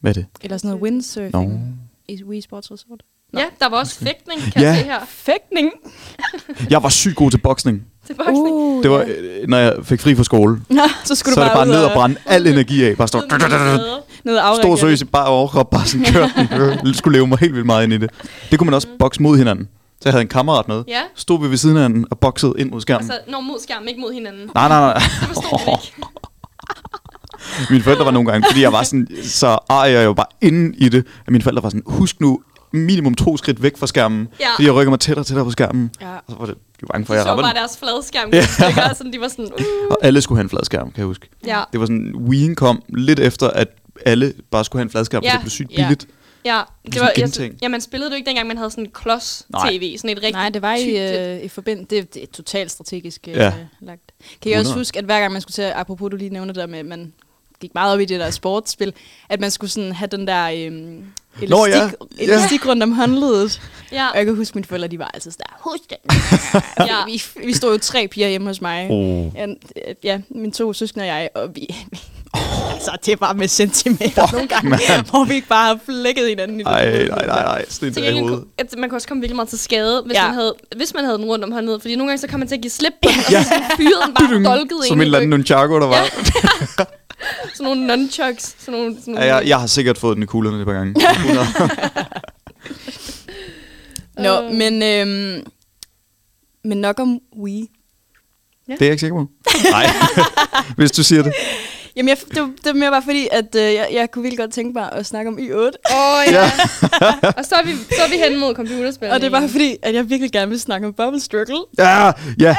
Hvad er det? eller sådan noget Nå. windsurfing i Wii Sports Resort. Ja, der var også fægtning, kan Ja. jeg se her. Fægtning! Jeg var sygt god til boksning. Det var sådan, Det var, øh, når jeg fik fri fra skole. så skulle så du er det bare ud ned og og brænde al energi af. Bare stå... Ned og Stor afreagere seriøs i bare overkrop, bare [LAUGHS] sådan kør den. skulle leve mig helt vildt meget ind i det. Det kunne man også bokse mod hinanden. Så jeg havde en kammerat med. Ja. Stod vi ved siden af hinanden og boksede ind mod skærmen. Altså, når mod skærmen, ikke mod hinanden. Nej, nej, [LAUGHS] nej. Det forstod man ikke. Mine forældre var nogle gange, fordi jeg var sådan, så ej, jeg var bare inde i det. At mine forældre var sådan, husk nu minimum to skridt væk fra skærmen. Ja. Fordi jeg rykker mig tættere og tættere på skærmen. Ja. Og så var det, de var bange for, De at jeg så rammer bare den. deres fladskærm. Ja. Og sådan, de var sådan, uh, Og alle skulle have en fladskærm, kan jeg huske. ja, Det var sådan, Wien kom lidt efter, at alle bare skulle have en fladskærm, ja. Ja. for det blev sygt Ja. billigt. ja. er Det var, sådan jeg, genting. ja, man spillede det jo ikke dengang, man havde sådan en klods-tv. Sådan et rigtigt Nej, det var i, tykt et- øh, i forbindelse... Det, det er totalt strategisk øh, Ja. ja. lagt. Kan jeg også Hundrede. huske, at hver gang man skulle til... Apropos, du lige nævner det der med, at man gik meget op i det der sportsspil, at man skulle sådan have den der øh, elastik, Nå, ja. Ja. elastik rundt om håndledet. Ja. Og jeg kan huske, mine forældre, de var altid sådan der, husk den. Ja. ja. vi, vi stod jo tre piger hjemme hos mig. Oh. Ja, øh, ja, mine to søskende og jeg, og vi... altså, det var med centimeter nogle gange, hvor vi ikke bare har flækket hinanden i det. Ej, nej, nej, nej. Sådan Til en i gengæld, hovedet. kunne- at man kunne også komme virkelig meget til skade, hvis, Ja. ja. man, havde, hvis man havde den rundt om håndled. Fordi nogle gange, så kom man til at give slip på den, og så sådan fyrede den bare dolket Som en eller anden nunchaku, der var. Ja. [LAUGHS] Sådan nogle nunchucks. Sådan nogle, sådan Ja, nogle, jeg, jeg har sikkert fået den i kuglerne et par gange. Øh. Nå, men, øhm, men nok om Wii. Det er jeg ikke sikker på. Nej, [LAUGHS] hvis du siger det. Jamen, jeg, det, var, det var mere bare fordi, at øh, jeg, jeg kunne virkelig godt tænke mig at snakke om I8. Åh, ja. og så er, vi, så er vi hen mod computerspil. Og det var fordi, at jeg virkelig gerne vil snakke om Bubble Struggle. Ja, ja,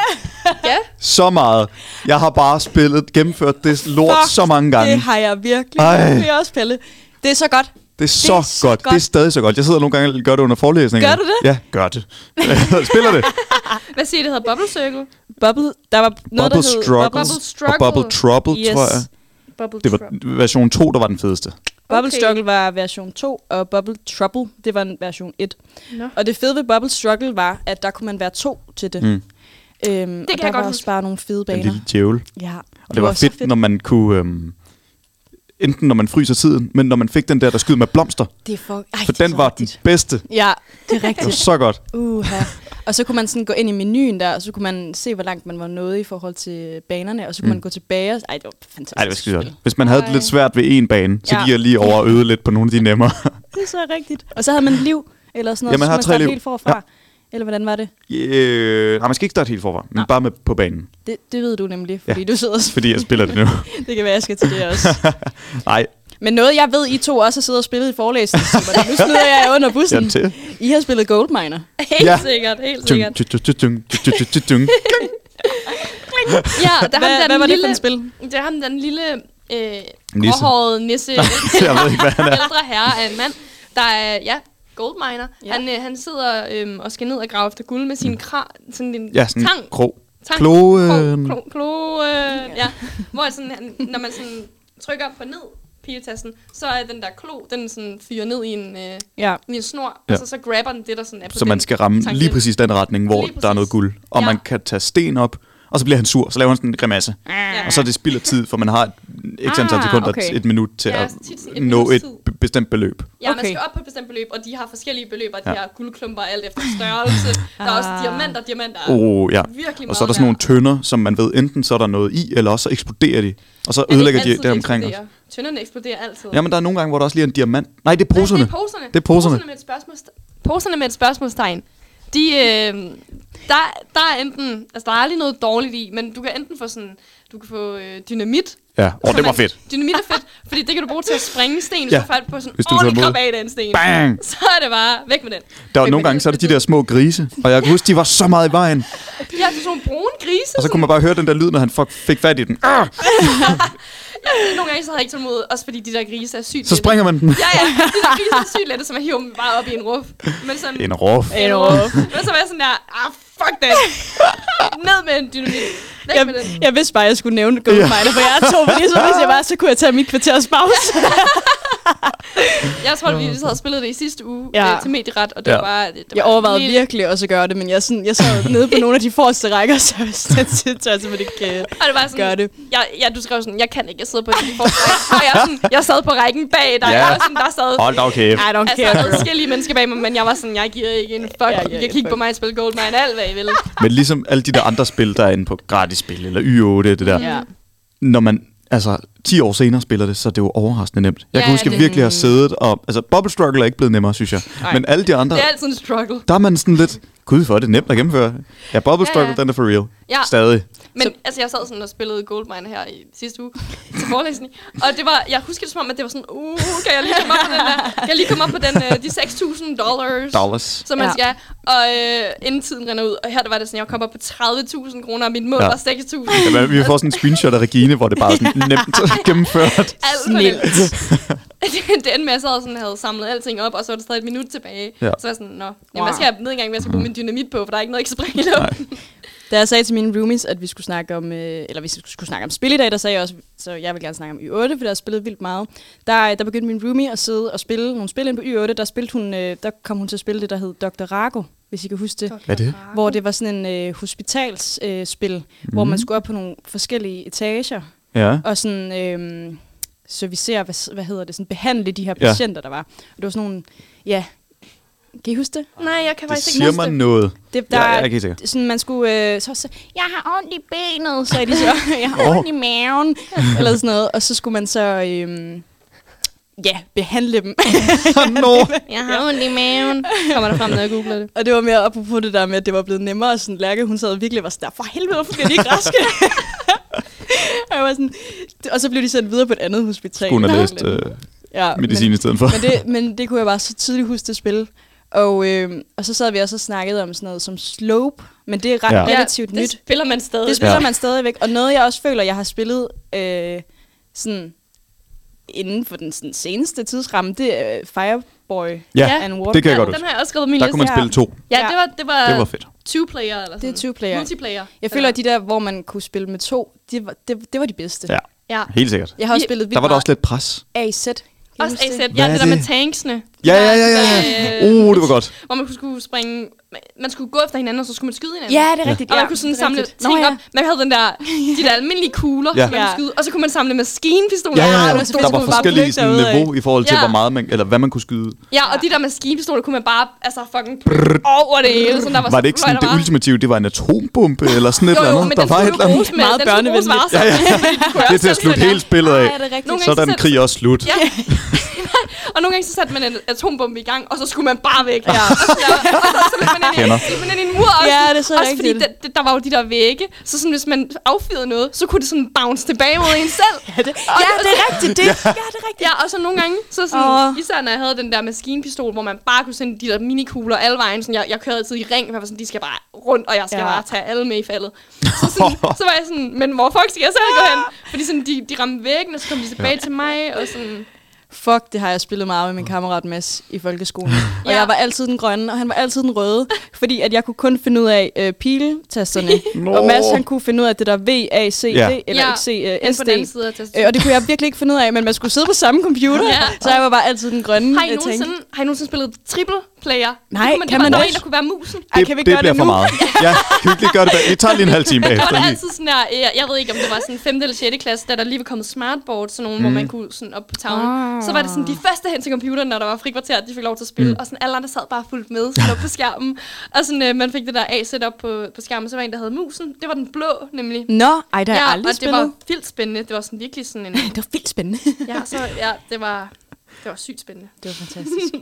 Ja, så meget. Jeg har bare spillet, gennemført det lort Fuck, så mange gange. Det har jeg virkelig. Ej. Det vil jeg også, Pelle. Det er så godt. Det er så, det er så godt. godt. Det er stadig så godt. Jeg sidder nogle gange og gør det under forelæsninger. Gør du det? Ja, gør det. [LAUGHS] Spiller det. hvad siger I, det hedder? Bubble Circle? Bubble, der var noget, Bubble der hed Struggles Bubble og Struggle. Bubble Trouble, Yes. tror jeg. Bubble Det Trouble. var version 2, der var den fedeste. Bubble Okay. Struggle var version 2, og Bubble Trouble, det var en version 1. Nå. Og det fede ved Bubble Struggle var, at der kunne man være to til det. Mm. Mm. Øhm, det kan jeg der godt var også huske. bare nogle fede Den baner. lille djævel. Ja, Og det var så fedt, fedt, når man kunne... Øhm, enten når man fryser tiden, men når man fik den der, der skyder med blomster. Det er for... Ej, For det er den så var den rigtigt. bedste. Ja, det er Det var rigtigt. så godt. Uha. Og så kunne man sådan gå ind i menuen der, og så kunne man se, hvor langt man var nået i forhold til banerne, og så kunne Mm. mm. man gå tilbage. Og... Ej, det var fantastisk. Ej, det var skide spil. godt. Hvis man havde det Ej. lidt svært ved en bane, så Ja. gik jeg lige over og øde lidt på nogle af de nemmere. [LAUGHS] Det er så rigtigt. Og så havde man liv, eller sådan noget. Ja, man så har skulle tre starte liv. helt forfra. Ja. Eller hvordan var det? øh, nej, man skal ikke starte helt forfra, men Nej. bare med på banen, Det, det ved du nemlig, fordi Ja. ja. du sidder og fordi jeg spiller det nu. Det kan være, jeg skal til det også. [LAUGHS] Nej, Men noget, jeg ved, I to også har siddet og spillet i forelæsningstimerne. Nu smider jeg jer under jeg er bussen. til. I har spillet Goldminer. Helt Ja. ja. sikkert, helt Tjung, sikkert. tjung, tjung, tjung, tjung, tjung, tjung, tjung. Ja, der er ham Hvad, der hvad den var det lille, for et spil? Det er ham den lille øh, Nisse. gråhårede nisse. [LAUGHS] Jeg ved ikke, hvad han er. [LAUGHS] ældre herre af en mand, der er, ja, goldminer. Ja. Ja. Han, øh, han sidder øhm, og skal ned og grave efter guld med sin kra, sådan en Mm. Ja, sådan en tang. krog. tang Kloen. Klo, klo, klo, øh, ja. Hvor sådan, han, når man sådan trykker på ned pigetassen, så er den der klo, den sådan fyrer ned i en, øh, Ja. i en snor, Ja. ja. og så, så grabber den det, der sådan er på Så man den skal ramme tangent. lige præcis den retning, hvor Lige der er noget præcis. guld. Og Ja. man kan tage sten op, og så bliver han sur, så laver han sådan en grimasse. Ja. Og så er det spild af tid, for man har et x antal Ah, sekunder, okay. et minut til Ja, at så tit sådan et nå minuts et tid. Ah, be- bestemt beløb. Ja, okay. man Okay. skal op på et bestemt beløb, og de har forskellige beløb, og de Ja. ja. her guldklumper alt efter [LAUGHS] størrelse. Der er også Ah. diamanter, diamanter. Altså, er Oh, ja. Virkelig Og så er meget der sådan nogle værd. tønder, som man ved, enten så er der noget i, eller også så eksploderer de. Og så Er det ødelægger ikke de altid, det omkring os. eksploderer? Tønderne eksploderer altid. Jamen, der er nogle gange, hvor der også lige er en diamant. Nej, det er Nej, poserne. Det er poserne. Det er poserne. poserne med et spørgsmålstegn. Poserne med et spørgsmålstegn. de, øh, der, der er enten, altså der er aldrig noget dårligt i, men du kan enten få sådan, du kan få øh, dynamit. Ja, og som det var er- fedt. Dynamit [LAUGHS] er fedt, fordi det kan du bruge til at sprænge sten, hvis Ja, ja. du faldt på sådan hvis hvis du du tager ordentlig imod. krab af den sten. Bang! [LAUGHS] Så er det bare, væk med den. Der var Væk nogle med gange, den. så er der de der små grise, og jeg kan huske, de var så meget i vejen. Ja, det er sådan nogle brune grise. Og så kunne man bare høre den der lyd, når han fuck fik fat i den. Arr! sådan. [LAUGHS] Nogle gange så havde jeg ikke tålmodighed, også fordi de der grise er sygt Så lette. springer [LAUGHS] man den. Ja, ja, de der grise er sygt lette, som er hiver dem bare op i en ruf. Men sådan, En råf. En råf. Men så var jeg sådan der, ah, fuck det. Ned med en dynamit. Væk Jeg, med den. jeg vidste bare, at jeg skulle nævne Gulvmejler, for jeg er to, fordi så vidste jeg bare, så kunne jeg tage mit kvarters pause. Jeg tror, at vi sad og spillede det i sidste uge Ja. ja. øh, til medieret, og det Ja. ja. var bare... Det, det Jeg var overvejede helt- virkelig også at gøre det, men jeg, sådan, jeg sad nede på nogle af de forreste rækker, [LAUGHS] så jeg tør jeg simpelthen ikke øh, Og det var sådan, gøre det. Jeg, ja, du skrev sådan, jeg kan ikke, jeg sidder på din forrække. og jeg, er sådan, jeg sad på rækken bag dig, Ja. ja. og sådan, der sad... Hold da kæft. I don't Altså, care, der girl. er forskellige mennesker bag mig, men jeg var sådan, jeg giver ikke en fuck. Ja, Jeg, ja, kan ja, kigge fuck. på mig og spille Goldmine alt, hvad I vil. Men ligesom alle de der andre spil, der er inde på gratis spil, eller Y8, det der. Ja. Når man altså 10 år senere spiller det, så er det jo overraskende nemt. Jeg Ja, kan huske, det- jeg virkelig har siddet og... Altså, Bubble Struggle er ikke blevet nemmere, synes jeg. Men alle de andre, Det er altid en struggle. der er man sådan lidt... Gud, for det er nemt at gennemføre. Ja, Bubble Ja, Struggle, ja. den er for real. Ja. Stadig. Men så... altså, jeg sad sådan og spillede Goldmine her i sidste uge [LAUGHS] til forelæsning. Og det var, jeg husker det som om, at det var sådan, uh, kan jeg lige komme op på den der, kan jeg lige komme op på den, øh, de 6.000 dollars, Dollars. som man Ja. ja. skal. Og øh, inden tiden render ud, og her der var det sådan, jeg kom op på 30.000 kroner, og mit mål Ja. ja. var 6.000. Jamen, vi får sådan en screenshot af Regine, hvor det [LAUGHS] bare er sådan nemt [LAUGHS] gennemført. Alt for Snilt. nemt. [LAUGHS] det endte med, at jeg sad og sådan, havde samlet alting op, og så var der stadig et minut tilbage. Ja. Ja. Så var jeg sådan, nå, jamen, hvad skal jeg ned engang, hvad jeg skal bruge min dynamit på, for der er ikke noget, jeg kan springe i luften. Da jeg sagde til mine roomies, at vi skulle snakke om, øh, eller vi skulle skulle snakke om spil i dag, der sagde jeg også, så jeg vil gerne snakke om Y8, for der har spillet vildt meget. Der, øh, der begyndte min roomie at sidde og spille nogle spil ind på Y8. Der, spilte hun, øh, der kom hun til at spille det, der hed Dr. Rago, hvis I kan huske det. Hvad er det? Hvor det var sådan en øh, hospitalsspil, øh, spil, hvor man skulle op på nogle forskellige etager Ja. og sådan, øh, servicere, hvad, hvad hedder det, sådan, behandle de her Ja. patienter, der var. Og det var sådan nogle, ja, kan I huske det? Nej, jeg kan Det faktisk ikke siger huske mig [LAUGHS] noget. Det, Ja, der, jeg er ikke helt sikker. Sådan, man skulle øh, så, så, jeg har ondt i benet, sagde de så. [LAUGHS] Jeg har Åh. ondt i maven, eller sådan noget. Og så skulle man så, øh, ja, behandle dem. [LAUGHS] Nå, Jeg har ondt i maven. Kommer der frem, når jeg googler det. og det var mere apropos det der med, at det var blevet nemmere. Og sådan, Lærke, hun sad og virkelig og var sådan, der, for helvede, hvorfor bliver de ikke [LAUGHS] raske? og, jeg var sådan, og så blev de sendt videre på et andet hospital. hun har Eller læst sådan lidt. øh, ja, medicin i stedet for. men det, men det kunne jeg bare så tydeligt huske det spil. Og, øh, og så sad vi også og snakkede om sådan noget som slope, men det er ret Ja. ja. relativt det nyt. spiller man stadig. Det spiller Ja. ja. man stadigvæk, og noget jeg også føler, jeg har spillet øh, sådan inden for den sådan, seneste tidsramme, det er øh, Fireboy [LAUGHS] Ja, and det kan jeg Ja, godt den huske. har jeg også skrevet på min Der liste. kunne man ja. spille to. Ja, Ja. det var, det var, Det var fedt. 20 player eller sådan. 20 player. Multiplayer. Jeg føler, at de der, hvor man kunne spille med to, det var, det, det var de bedste. Ja, Ja. helt sikkert. Jeg har også I- spillet vildt Der var der meget også lidt pres. AZ. Kan I Også huske AZ. det? Ja, Hvad er det der det? med tanksene. Ja, ja, ja, ja. ja. Uh, det var godt. Hvor man skulle springe... Man skulle gå efter hinanden, og så skulle man skyde hinanden. Ja, det er rigtigt. Og ja. man kunne sådan Det er samle rigtigt. ting Nå, ja. op. Man havde den der, de der almindelige kugler, Ja. som man kunne Ja. skyde. Og så kunne man samle maskinpistoler. Ah, Ja, ja, ja. det var så fedt, Der var så kunne man bare forskellige plukke sådan, derudad. niveau i forhold til, Ja. hvor meget man, eller hvad man kunne skyde. Ja, og de der maskinpistoler kunne man bare altså, fucking over det hele. Sådan, der var, Var det ikke sådan det ultimative, det var en atombombe eller sådan et jo, eller jo, andet? men Der den var skulle et du eller andet. bruges med, Meget den skulle bruges børnevenligt. varsomt. [LAUGHS] Fordi du kunne Det også er til at selv slutte sætte- hele spillet af. Ej, er det rigtigt? Nogle Så gange er den selv- krig også slut. Ja. og nogle gange så satte man en atombombe i gang, og så skulle man bare væk. Ja. og så, og så løb man ind, Kender. i, løb man ind i en mur også. Ja, det er så også rigtigt. fordi der, der var jo de der vægge, så sådan, hvis man affyrede noget, så kunne det sådan bounce tilbage mod en selv. Ja, det, ja, det er rigtigt. Det, ja, det er rigtigt. Ja, og så nogle gange, så sådan, Åh. oh. især når jeg havde den der maskinpistol, hvor man bare kunne sende de der minikugler alle vejen. Sådan, jeg, jeg kørede altid i ring, for jeg var sådan, de skal bare rundt, og jeg skal Ja. ja. bare tage alle med i faldet. Så, [LAUGHS] sådan, så var jeg sådan, men hvor fuck skal jeg selv gå hen? Fordi sådan, de, de ramte væggen, og så kom de tilbage ja. til mig, og sådan... Fuck, det har jeg spillet meget med min kammerat Mads i [LAUGHS] folkeskolen. Og Ja. jeg var altid den grønne, og han var altid den røde, fordi at jeg kunne kun finde ud af øh, piletasterne. [LAUGHS] Nå. Og Mads han kunne finde ud af det der V, A, C, D, Ja. ja. eller Ja, ikke C, øh, ind på den anden S, D. side af tastaturet. Øh, og det kunne jeg virkelig ikke finde ud af, men man skulle sidde på samme computer, Ja. så jeg var bare altid den grønne. Har I, Mm, jeg tænkte. nogensinde, har I nogensinde spillet triple player? Det Nej, kunne man, kan det man var der det? var en, der kunne være musen. Ej, kan vi det gøre bliver det for nu? [LAUGHS] meget. Ja, kan vi ikke lige gøre det bag? Vi tager lige en halv [LAUGHS] time Der var bagefter. der lige. altid sådan der, jeg, jeg ved ikke, om det var sådan 5. eller 6. klasse, da der lige var kommet smartboard, sådan nogle, mm. hvor man kunne sådan op på tavlen. Ah. Ah. Så var det sådan, de første hen til computeren, når der var frikvarter, de fik lov til at spille, mm. og sådan alle andre sad bare fuldt med sådan op på [LAUGHS] skærmen. Og sådan, øh, man fik det der A-set op på, på skærmen, så var en, der havde musen. Det var den blå, nemlig. Nå, ej, det har jeg aldrig og det spillet. var vildt spændende. Det var sådan virkelig sådan en... det var vildt spændende. Mm. Ja, så, ja det var... Det var sygt spændende. [LAUGHS] det var fantastisk.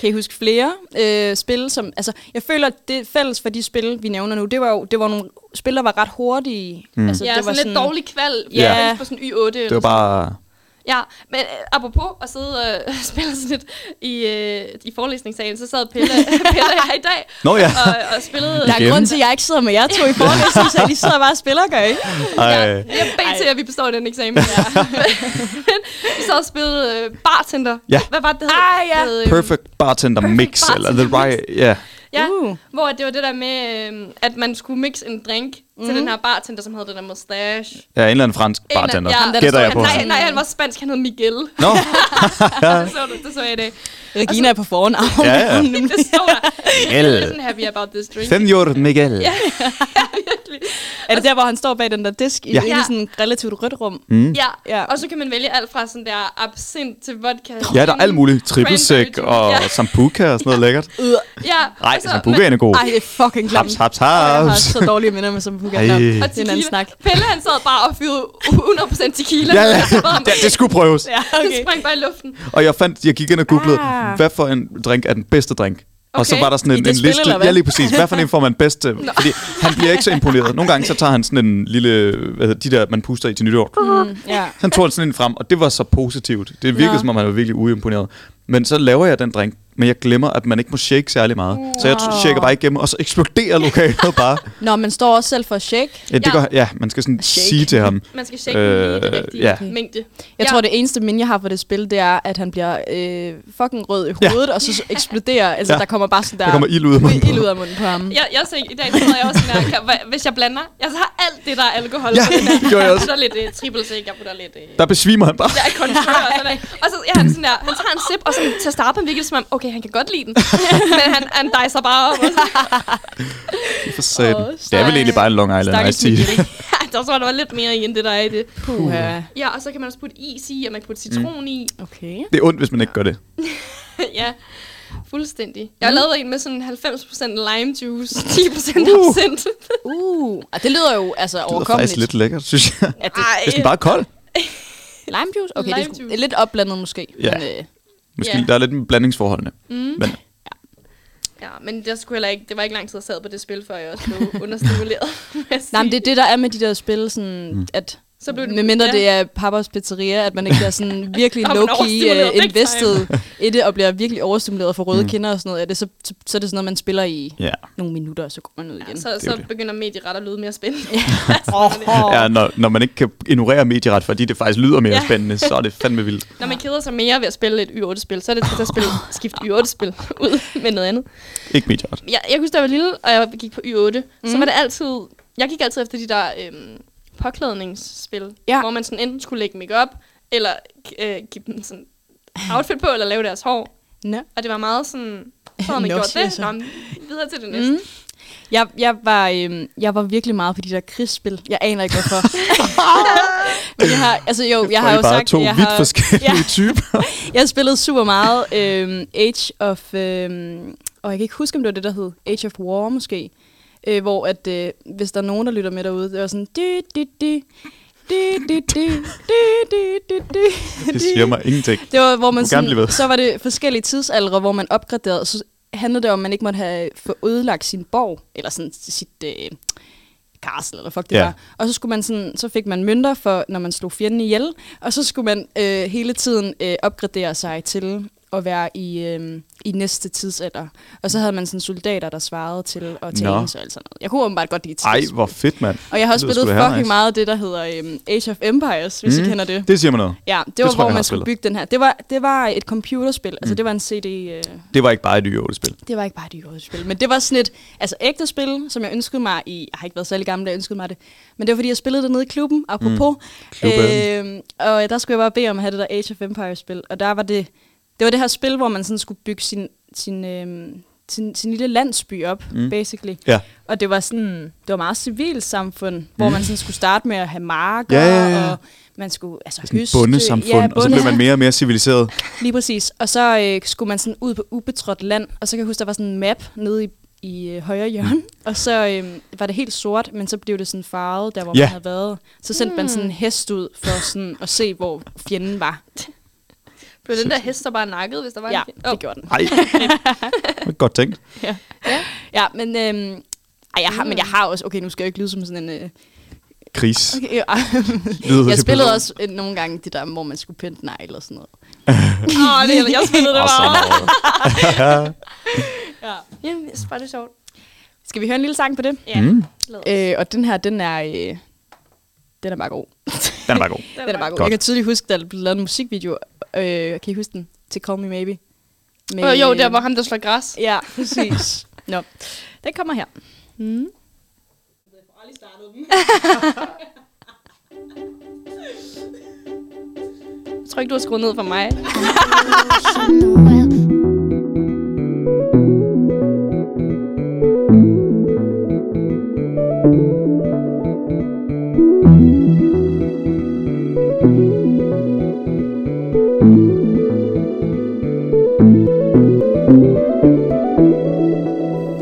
Kan I huske flere øh, spil? Som, altså, jeg føler, at det fælles for de spil, vi nævner nu, det var jo det var nogle spil, der var ret hurtige. Mm. Altså, Ja, det sådan, var lidt dårlig kval. Ja. Ja. Yeah. på sådan Y8. Det var bare... Ja, men øh, apropos at sidde og øh, [LAUGHS] spille sådan lidt i, øh, i forelæsningssalen, så sad Pelle, Pelle og jeg i dag Nå ja. og, og spillede... Der er Igen. grund til, at jeg ikke sidder med jer to i forelæsning, så I sidder bare og spiller, gør I? Ja, Ej. jeg beder til, at vi består den eksamen. [LAUGHS] Ja. vi så og spillede øh, bartender. Ja. Hvad var det, det Ah, hed? ja. Det hed, øhm, Perfect bartender mix, bartender eller the mix. right... Ja. Ja, Uh. uh. hvor det var det der med, øhm, at man skulle mix en drink mm. til den her bartender, som havde den der mustache. En ja, en eller anden fransk eller- bartender. ja, der Gætter stod- jeg på. Nej, nej, han var spansk, han hed Miguel. Nå, det, [LAUGHS] så du, det så jeg i dag. Regina er på fornavn. ja, ja. [LAUGHS] Det stod der. El. [LAUGHS] Jeg er sådan happy about this drink. Senor Miguel. Ja. [LAUGHS] Er det der, hvor han står bag den der disk i, Ja. Mm. ja. i sådan et relativt rødt rum? Ja. Ja. ja, og så kan man vælge alt fra sådan der absint til vodka. ja, der er alt muligt. Trippelsæk Cranberry og juice. sambuca og sådan noget [LAUGHS] lækkert. Ja, Nej, og så- sambuca er en god. Ej, det er fucking klamt. Haps, haps, Og Jeg har haps. så dårlige minder med som Puka. Ej. Nå, Det er Og en anden tequila. snak. Pelle han sad bare og fyrede 100% tequila. Ja, [LAUGHS] ja. [LAUGHS] ned, og så var han- Det, det skulle prøves. Ja, Den okay. sprang bare i luften. Og jeg fandt, jeg gik ind og googlede, Ah. ah. hvad for en drink er den bedste drink? Okay. Og så Okay. var der sådan I en, det en spil, liste. eller hvad? ja, lige præcis. Hvad for en får man bedst? [LAUGHS] til? Fordi han bliver ikke så imponeret. Nogle gange så tager han sådan en lille, hvad hedder, de der, man puster i til nytår. Mm. Ja. Han tog sådan en frem, og det var så positivt. Det virkede, Nå. som om han var virkelig uimponeret. Men så laver jeg den drink, men jeg glemmer, at man ikke må shake særlig meget. Så jeg Wow. shaker bare igennem, og så eksploderer lokalet [LAUGHS] bare. Nå, man står også selv for at shake. Ja, det Ja. Gør, ja man skal sådan Shake. shake. sige til ham. Man skal shake øh, lige i den Øh, rigtige ja. mængde. Jeg Ja. tror, det eneste minde, jeg har for det spil, det er, at han bliver øh, fucking rød i hovedet, og så eksploderer. Altså, Ja. der kommer bare sådan der... Der kommer ild ud af munden på ild ham. ud af munden på ham. Jeg, jeg så, I dag så havde jeg også sådan der, kan- hva- hvis jeg blander, jeg så har alt det, der er alkohol. Ja, på den [LAUGHS] her. det gjorde jeg også. putter lidt uh, triple sec, jeg putter lidt... Uh, Der besvimer [LAUGHS] han bare. der er kontrol og sådan noget. Og så ja, han sådan der, han tager en sip, og sådan, til at starte med virkelig som om, okay, han kan godt lide den. [LAUGHS] Men han, han dejser bare op, og så, For satan. Åh, det er vel egentlig bare en Long Island Stakkels Ice Tea. Miguel. ja, der tror jeg, der var lidt mere i, end det, der er i det. Puha. Ja, og så kan man også putte is i, og man kan putte citron mm. i. [LAUGHS] Okay. [LAUGHS] Det er ondt, hvis man ikke gør det. ja, fuldstændig. Jeg Mm. har lavet en med sådan 90% lime [LAUGHS] juice, 10% absint. [LAUGHS] Uh, og det lyder jo altså Det er faktisk overkommeligt. lidt lækkert, synes jeg. At det, Hvis den bare er kold. lime juice? Okay, det er, Lime sgu- juice. det er lidt opblandet måske. Ja. Men, øh, Måske Ja. yeah. der er lidt med blandingsforholdene. Mm. Men Ja, men jeg skulle heller ikke, det var ikke lang tid, jeg sad på det spil, før jeg også [LAUGHS] blev understimuleret. vil jeg nej, men det sige. er det, der er med de der spil, sådan, mm. at så blev det, Medmindre ja. det er Papas Pizzeria, at man ikke bliver [LAUGHS] sådan virkelig Der er man low-key overstimuleret uh, big [LAUGHS] invested i det, og bliver virkelig overstimuleret for røde mm. kinder og sådan noget. Er det, så, så, så er det sådan noget, man spiller i ja, nogle minutter, og så går man ud igen. Så, er så jo det. begynder medieret at lyde mere spændende. oh, ja når, når man ikke kan ignorere medieret, fordi det faktisk lyder mere Ja. yeah. spændende, så er det fandme vildt. Når man keder sig mere ved at spille et Y8-spil, så er det til at spille, skifte Y8-spil [LAUGHS] ud med noget andet. Ikke medieret. Jeg, jeg husker, da jeg var lille, og jeg gik på Y8, mm. så var det altid... Jeg gik altid efter de der øhm, påklædningsspil, Ja. ja. hvor man sådan enten skulle lægge make op eller øh, give dem sådan outfit på, eller lave deres hår. Nå. Og det var meget sådan... Så havde man Nå, gjort siger det. så. Nå, men videre til det næste. Mm. Jeg, jeg, var, øhm, jeg var virkelig meget på de der krigsspil. Jeg aner ikke, hvorfor. Men jeg har, altså jo, jeg, Og har I jo bare sagt, to at jeg vidt har, forskellige Ja. yeah. [LAUGHS] typer. Jeg spillede super meget øhm, Age of... Øhm, og jeg kan ikke huske, om det var det, der hed Age of War måske. Øh, hvor at, øh, hvis der er nogen, der lytter med derude, det var sådan... Dy, dy, dy, dy, dy, dy, dy, dy, dy, dy, Det siger mig ingenting. Det var, hvor man Du må gerne blive sådan, ved. så var det forskellige tidsalre, hvor man opgraderede, så handlede det om, at man ikke måtte have få ødelagt sin borg, eller sådan sit øh, castle, eller fuck det Ja. var. Og så, skulle man sådan, så fik man mønter, for, når man slog fjenden ihjel, og så skulle man øh, hele tiden øh, opgradere sig til at være i, øh, i næste tidsalder. Og så havde man sådan soldater, der svarede til at tage Nå. ens og alt sådan noget. Jeg kunne åbenbart godt lide Ej, tids. hvor fedt, mand. Og jeg har også Det lyder spillet sgu da fucking nice. meget af det, der hedder øh, Age of Empires, hvis mm. I kender det. Det siger mig noget. Ja, det, tror var, jeg, hvor jeg har man skulle spillet. Mm. bygge den her. Det var, det var et computerspil. Altså, det var en CD... Øh, Det var ikke bare et y-spil. det var ikke bare et dyrt spil, men det var sådan et altså, ægte spil, som jeg ønskede mig i... Jeg har ikke været særlig gammel, da jeg ønskede mig det. Men det var, fordi jeg spillede det nede i klubben, apropos. Mm. Klubben. Øh, og der skulle jeg bare bede om at have det der Age of Empires-spil. Og der var det... Det var det her spil, hvor man sådan skulle bygge sin, sin, øh, sin, sin lille landsby op, mm. basically. Ja. Og det var sådan, det var meget civilt samfund, mm. hvor man sådan skulle starte med at have marker, Ja, ja, ja. og man skulle altså Sådan et bundesamfund, ja, og så blev man mere og mere civiliseret. Lige præcis. Og så øh, skulle man sådan ud på ubetrådt land, og så kan jeg huske, der var sådan en map nede i, i øh, højre hjørne, og så øh, var det helt sort, men så blev det sådan farvet, der hvor Ja. man havde været. Så sendte mm. man sådan en hest ud for sådan at se, hvor fjenden var. Blev den der hest, der bare nakket, hvis der var Ja, en det gjorde den. Ej, [LAUGHS] det er godt tænkt. Ja, men, øhm, ej, jeg har, men jeg har også... Okay, nu skal jeg ikke lyde som sådan en... Øh, Kris. [LAUGHS] okay, ja. Lyder det jeg billeder. spillede også øh, nogle gange det der, hvor man skulle pynte negle og sådan noget. Åh, oh, det, jeg spillede det Og bare. sådan noget. Jamen, jeg synes bare, det er sjovt. Skal vi høre en lille sang på det? Ja, Mm. lad os. Øh, og den her, den er... Øh, den er bare god. Den er bare god. Den er Den er bare god. Godt. Jeg kan tydeligt huske, der blev lavet en musikvideo. Øh, kan I huske den? Til Call Me Maybe. Med, Øh, jo, der var ham, der slår græs. [LAUGHS] Ja, præcis. Nå, den kommer her. Mm. Jeg tror ikke, du har skruet ned for mig.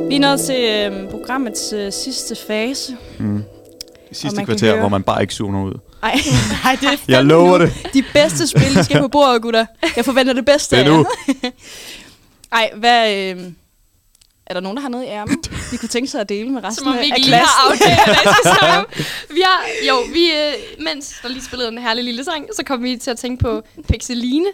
Vi er nået til øh, programmets øh, sidste fase. Og Sidste man kan kvarter, høre- hvor man bare ikke zoner ud. Ej, [LAUGHS] nej, det er fandme Jeg lover nu. det. De bedste spil, de skal på bordet, gutter. Jeg forventer det bedste Det er af jer. nu. Ej, hvad... Øh, er der nogen, der har noget i ærmen, de kunne tænke sig at dele med resten Som om vi af ikke lige har klassen? aftalt, hvad der skal [LAUGHS] sammen. Vi har, jo, vi, øh, mens der lige spillede en herlig lille sang, så kom vi til at tænke på Pixeline,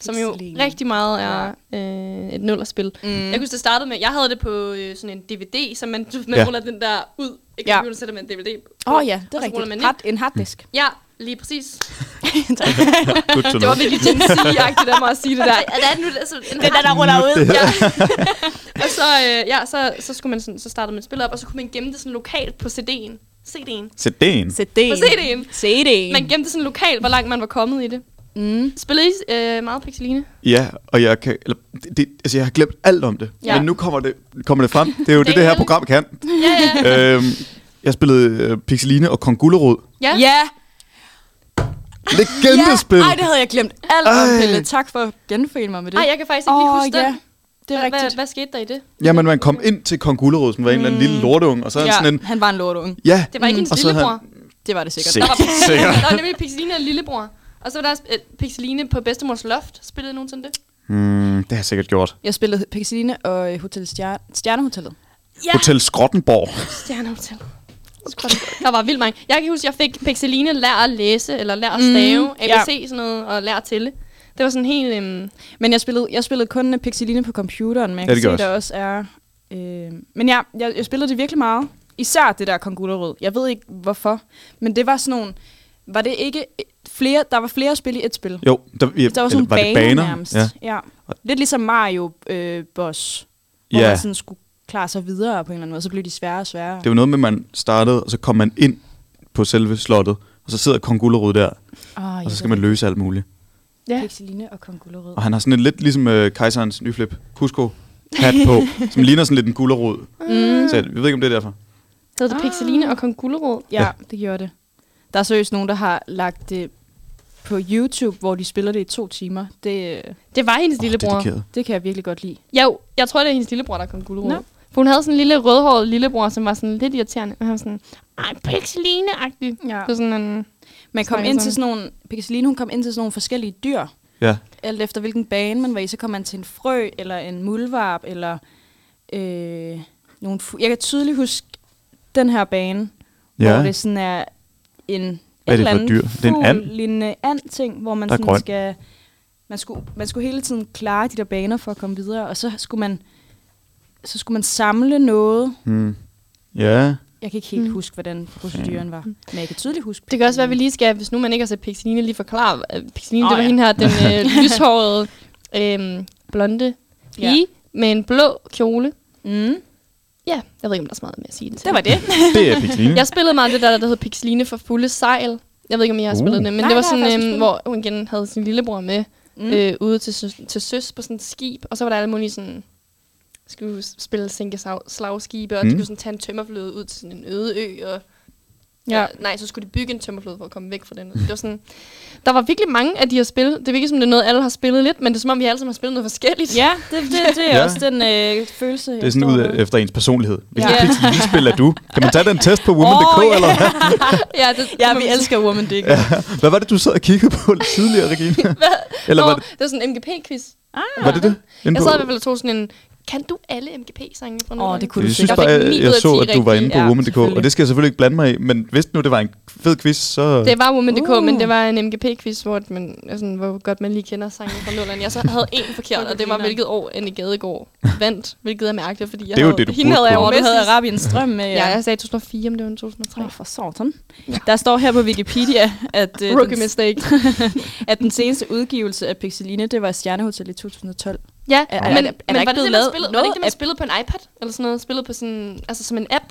som jo Pixeline. rigtig meget er øh, et nullerspil. Mm. Jeg kunne det startede med, jeg havde det på øh, sådan en DVD, som man, [LAUGHS] man Ja. ruller den der ud. Ikke Ja. ja. sætter man en DVD på. Åh oh, ja, det og er så ruller rigtigt. man ind. Hard, en harddisk. [LAUGHS] Ja, lige præcis. Good to Det know. var virkelig Gen [LAUGHS] Z-agtigt af mig at sige det der. Ja, det er nu, altså, en der, der ruller ud. Ja. og så, øh, ja, så, så, skulle man sådan, så startede man spillet op, og så kunne man gemme det sådan lokalt på CD'en. CD'en. CD'en. CD'en. På CD'en. CD'en. Man gemte det sådan lokalt, hvor langt man var kommet i det. mm. Spillede I øh, meget Pixeline? Ja, og jeg kan... Eller, det, det, altså, jeg har glemt alt om det. Ja. Ja. Men nu kommer det, kommer det frem. Det er jo det, er det, det her heldigt. program [LAUGHS] kan. Ja, ja. øhm, jeg spillede øh, Pixeline og Kong Gullerod. ja. ja. Ja. Legendespil. Ej, det havde jeg glemt alt om, Ej. Pelle. Tak for at genforene mig med det. Ej, jeg kan faktisk ikke lige Åh, huske ja. den. Det er Hvad- rigtigt. Hvad, hvad skete der i det? Jamen, man kom ind til Kong Gullerod, som var en eller anden lille lorteunge, og så er han sådan en... han Mm. var en lortunge. Ja, Det var ikke Mm. hendes Og så havde lillebror. Det var det sikkert. Se. [LAUGHS] Sikkert. Der var nemlig Pixeline og lillebror. Og så var der også, øh, Pixeline på bedstemors loft. Spillede I nogensinde det? Mm, det har jeg sikkert gjort. Jeg spillede Pixeline og øh, Hotel Stjerne, Stjernehotellet. Ja. Hotel Skrottenborg. Stjernehotel. Der var vildt mange. Jeg kan huske, jeg fik Pixeline lær at læse, eller lær at stave, mm, ja. ABC sådan noget, og lær at tælle. Det var sådan helt... Øhm, Men jeg spillede, jeg spillede kun øh, Pixeline på computeren, men jeg Ja, kan det se, gør der også er... Øh, men ja, jeg, jeg spillede det virkelig meget. Især det der Kong Gulerod. Jeg ved ikke hvorfor, men det var sådan nogle... Var det ikke flere... Der var flere spil i et spil. Jo, der, ja, Der var sådan eller nogle var det baner, baner nærmest. Ja. Ja. ja. Lidt ligesom Mario øh, Boss, hvor Ja. man sådan skulle klare sig videre på en eller anden måde, så blev de sværere og sværere. Det var noget med, at man startede, og så kom man ind på selve slottet, og så sidder Kong Gullerod der, oh, og så skal man løse alt muligt. ja. Pixeline og Kong Gulerod. Og han har sådan en lidt ligesom øh, kejserens nyflip, Cusco, hat [LAUGHS] på, som ligner sådan lidt en gullerod. Mm. Så jeg, jeg ved ikke, om det er derfor. Hed det Pixeline og Kong Gullerod? Ja, ja, det gjorde det. Der er seriøst nogen, der har lagt det på YouTube, hvor de spiller det i to timer. Det, øh, Det var hendes oh, lillebror. dedikeret. det kan jeg virkelig godt lide. Ja, jo, jeg tror, det er hendes lillebror, der kom gulerod. Nå. For hun havde sådan en lille rødhåret lillebror, som var sådan lidt irriterende. Og han var sådan, ej, pixeline-agtig. Ja. Så sådan en... Man kom Snakker ind sådan. til sådan nogle, Pixeline, hun kom ind til sådan nogle forskellige dyr. Ja. Alt efter hvilken bane man var i, så kom man til en frø, eller en muldvarp, eller øh, nogle fu- Jeg kan tydeligt huske den her bane, ja. hvor Ja. det sådan er en en Hvad er det eller for et anden dyr? Det er en fugl- and? lignende and-ting, hvor man Der er sådan grøn. skal... Man skulle, man skulle hele tiden klare de der baner for at komme videre, og så skulle man, så skulle man samle noget. Hmm. [LAUGHS] Ja. Jeg kan ikke helt huske, hvordan proceduren var, men jeg Mm. kan tydeligt huske. Det kan også være, at vi lige skal, hvis nu man ikke har set Pixeline, lige forklare. øh, Pixeline, oh, Åh, det var ja. ja. hende her, den [LAUGHS] øh, lyshårede, øh, blonde pige med en blå kjole. Mm, Ja, jeg ved ikke, om der er så meget med at sige det til. det var det. Det er Pixeline. Jeg spillede meget det der, der hed Pixeline for fulde sejl. Jeg ved ikke, om I har Uh. spillet det, men Nej, det var det har jeg faktisk sådan, ikke øhm, hvor hun igen havde sin lillebror med mm. Mm. øh, ude til, søs- til søs på sådan et skib, og så var der alle mulige sådan skulle spille sænke slagskibe, og mm. de Mm. skulle sådan tage en tømmerfløde ud til sådan en øde ø, og Ja. nej, så skulle de bygge en tømmerflod for at komme væk fra den. Det var sådan, der var virkelig mange af de her spil. Det er virkelig som, det er noget, alle har spillet lidt, men det er som om, vi alle sammen har spillet noget [LAUGHS] forskelligt. Ja, det, det, det er Ja. ja. også den øh, følelse, Det er sådan ud af, efter ens personlighed. Hvilken Ja. ja. pixelspil er du? Kan man tage den test på woman.dk, Åh, oh, ja. yeah. eller hvad? [LAUGHS] ja, det, Ja, vi elsker Woman Dick. Ja. hvad? var det, du sad og kiggede på lidt tidligere, [LAUGHS] Regina? eller Nå, var det, det var sådan en MGP-quiz. var det det? Inde Jeg på- sad i hvert fald og tog sådan en, kan du alle MGP-sange fra Åh, nullerne?" det kunne Jeg du synes Jeg bare, sikkert. fik ni jeg, ud jeg af så, ti at du var inde på rigtige. woman.dk, Ja, og selvfølgelig. det skal jeg selvfølgelig ikke blande mig i, men hvis nu det var en fed quiz, så... Det var Woman.dk, Uh. uh. men det var en MGP-quiz, hvor, man, altså, hvor godt man lige kender sangen fra nullerne. Jeg så havde [LAUGHS] en forkert, og det var, hvilket år Anne Gadegaard vandt, hvilket er mærkeligt, fordi jeg Det er jo havde, det, du hende burde havde jeg kunne. Hvor du havde overmest. Arabiens drøm med. Ja, jeg sagde 2004, men det var en 2003. Åh, for satan. Der står her på Wikipedia, at, øh, Rookie den, mistake. at den seneste udgivelse af Pixeline, det var Stjernehotel i 2012. Ja, Er- er, er- men, er der er, men ikke var det blevet det, man lavet spillede? Var noget det ikke det, man app? spillede på en iPad? Eller sådan noget? Spillede på sådan, altså som en app?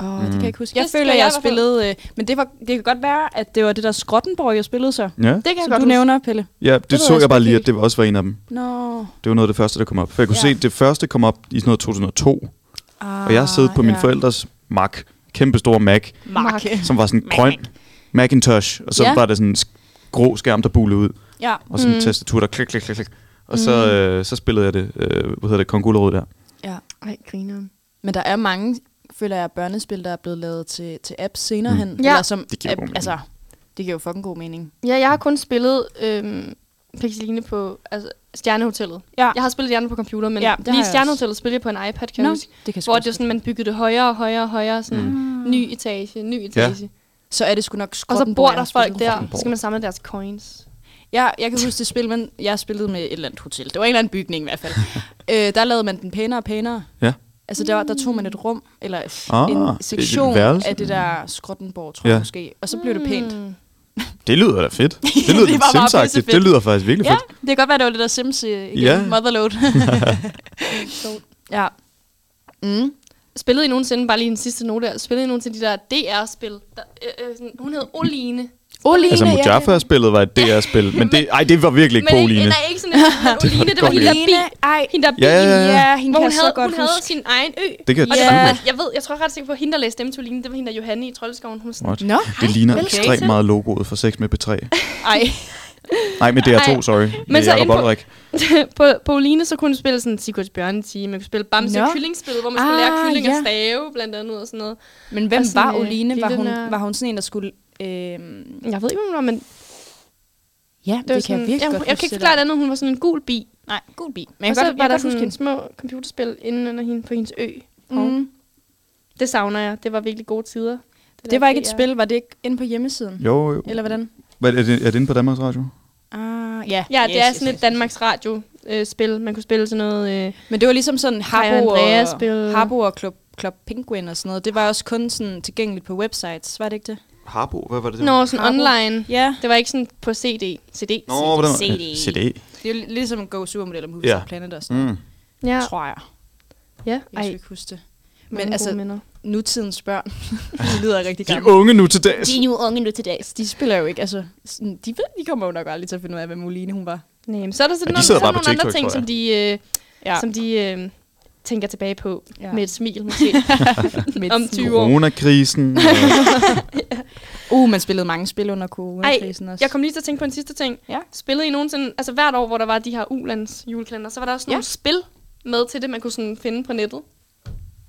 Åh, Mm. oh, det kan jeg ikke huske. Jeg Det føler, gør jeg, jeg jeg i hvert fald. spillede... Øh, men det, var, det kan godt være, at det var det der Skrottenborg, jeg spillede så. Ja, Det kan jeg Som godt du huske. nævner, Pelle. ja det, ved det så jeg jeg bare sgu lige, ikke. at det også var en af dem. Nå. No. Det var noget af det første, der kom op. For jeg kunne Ja. se, at det første kom op i sådan noget 2002, Ah, og jeg sad på mine forældres Mac, kæmpe stor Mac, Mark. som var sådan en grøn Macintosh, og så Ja. Mm. var der sådan en sk- grå skærm, der bulede ud, Ja. og sådan en tastatur, der klik, klik, klik, klik. Og så, Mm. øh, så spillede jeg det, øh, hvad hedder det, Kong Gulerod der. ja. Ej, griner. Men der er mange, føler jeg, børnespil, der er blevet lavet til, til apps senere Mm. hen. Ja. Eller som, Det giver god mening. Altså, det giver jo fucking god mening. Ja, jeg har kun spillet øhm, Pixeline på altså, Stjernehotellet. Ja. Jeg har spillet Stjernen på computer, men Ja, ja, det har lige jeg Stjernehotellet spillede jeg på en iPad, kan Nå, jeg huske. Det kan jeg sgu Hvor det også var sådan, man byggede det højere og højere og højere. Sådan mm. ny etage, ny etage. Ja. godt. Så er det sgu nok Og så Skrottenborg, bor jeg der har folk spillet. der. Så skal man samle deres coins. Ja, jeg kan huske det spil, men jeg spillede med et eller andet hotel. Det var en eller anden bygning i hvert [LAUGHS] fald. øh, der lavede man den pænere og pænere. Ja. Altså der, der tog man et rum, eller pff, Ah, en et sektion værelse. af det der Skrottenborg, tror jeg Ja. måske. Og så blev det pænt. Mm. Det lyder da [LAUGHS] fedt. Det lyder Det lidt var bare sindsagtigt. pissefedt. Det lyder faktisk virkelig Ja, fedt. det kan godt være, det var det der Sims øh, igen. Ja. [LAUGHS] Motherload. [LAUGHS] ja. Mm. Spillede I nogensinde, bare lige en sidste note her, spillede I nogensinde de der DR-spil? Der, øh, øh, sådan- hun hed Oline. Oline, Altså, ja. Mujaffa-spillet var et DR-spil, men det, ej, det var virkelig ikke men Pauline. ikke, nej, ikke sådan en, men Oline, [LAUGHS] det var godt hende der billede. bi. ej. Hende der bi. Ja, ja, ja, ja. Ja, hende Hvor kan hun jeg så havde, godt hun havde huske. sin egen ø. Det kan jeg og det tydeligt var, huske. jeg ved, jeg tror ret sikker på, at hende, der læste stemme til Oline, det var hende der Johanne i Troldskoven. Hun var sådan, What? Nå, Det ligner vel, ekstremt Kate. meget logoet fra 6 med P3. ej. Nej, med DR2, Ej. sorry. Men Men så så Jacob ind på- Olrik. [LAUGHS] på, på Oline, så kunne du spille sådan Sigurds Bjørnetime, man kunne spille Bamse Nå. no. Kyllingspil, hvor man skulle Ah, ah, lære kylling ja. ja. stave, blandt andet og sådan noget. Men hvem Og sådan, var øh, Oline? Var lille hun, nørd. var hun sådan en, der skulle... Øh, ja, det, Jeg ved ikke, hvem hun var, men det, det var kan sådan, jeg virkelig jeg, godt jeg kan huske ikke det forklare der. det andet, hun var sådan en gul bi. Nej, god bi. Men Men jeg og kan så godt, var jeg der kan godt huske sådan hende. små computerspil inden under hende, på hendes ø. Mm. Mm. Det savner jeg. Det var virkelig gode tider. Det var ikke et der spil, var det ikke inde på hjemmesiden? Jo, jo. Eller hvordan? Hvad, er, det, er det inde på Danmarks Radio? Ah, ja. PR. Ja, det er sådan et Danmarks Radio-spil. Man kunne spille sådan noget... Øh, Men det var ligesom sådan Kai og Harbo Andreas og, spil. Harbo og Club, Club Penguin og sådan noget. Det var også kun sådan tilgængeligt på websites, var det ikke det? Harbo, hvad var det? Nå, sådan Harbo. online. Ja, Det var ikke sådan på CD. CD. Nå, hvordan var CD. CD. det er jo li- ligesom Go Supermodel og Movies Ja. yeah. Planet og sådan Mm. Ja. noget, tror jeg. ja. Jeg Ej, skal ikke huske det. men altså... Minder. Nutidens børn, [LAUGHS] de lyder rigtig De gamle. unge nu til dags. nu unge nu til dags. De spiller jo ikke, altså, sådan, de, ved, de kommer jo nok aldrig til at finde ud af, hvem Moline hun var. Nej, men så er der sådan Ja, de nogle, sidder så er bare på nogle andre TikTok, ting, tror som jeg. de, øh, Ja. ja. som de øh, tænker tilbage på Ja. ja. [LAUGHS] med et smil [LAUGHS] måske. Om 20 år. Coronakrisen. og- Uh, man spillede mange spil under coronakrisen Ej, også. jeg kom lige til at tænke på en sidste ting. Ja. Spillede I nogensinde, altså hvert år, hvor der var de her ulands julekalender, så var der også Ja. nogle spil med til det, man kunne sådan finde på nettet.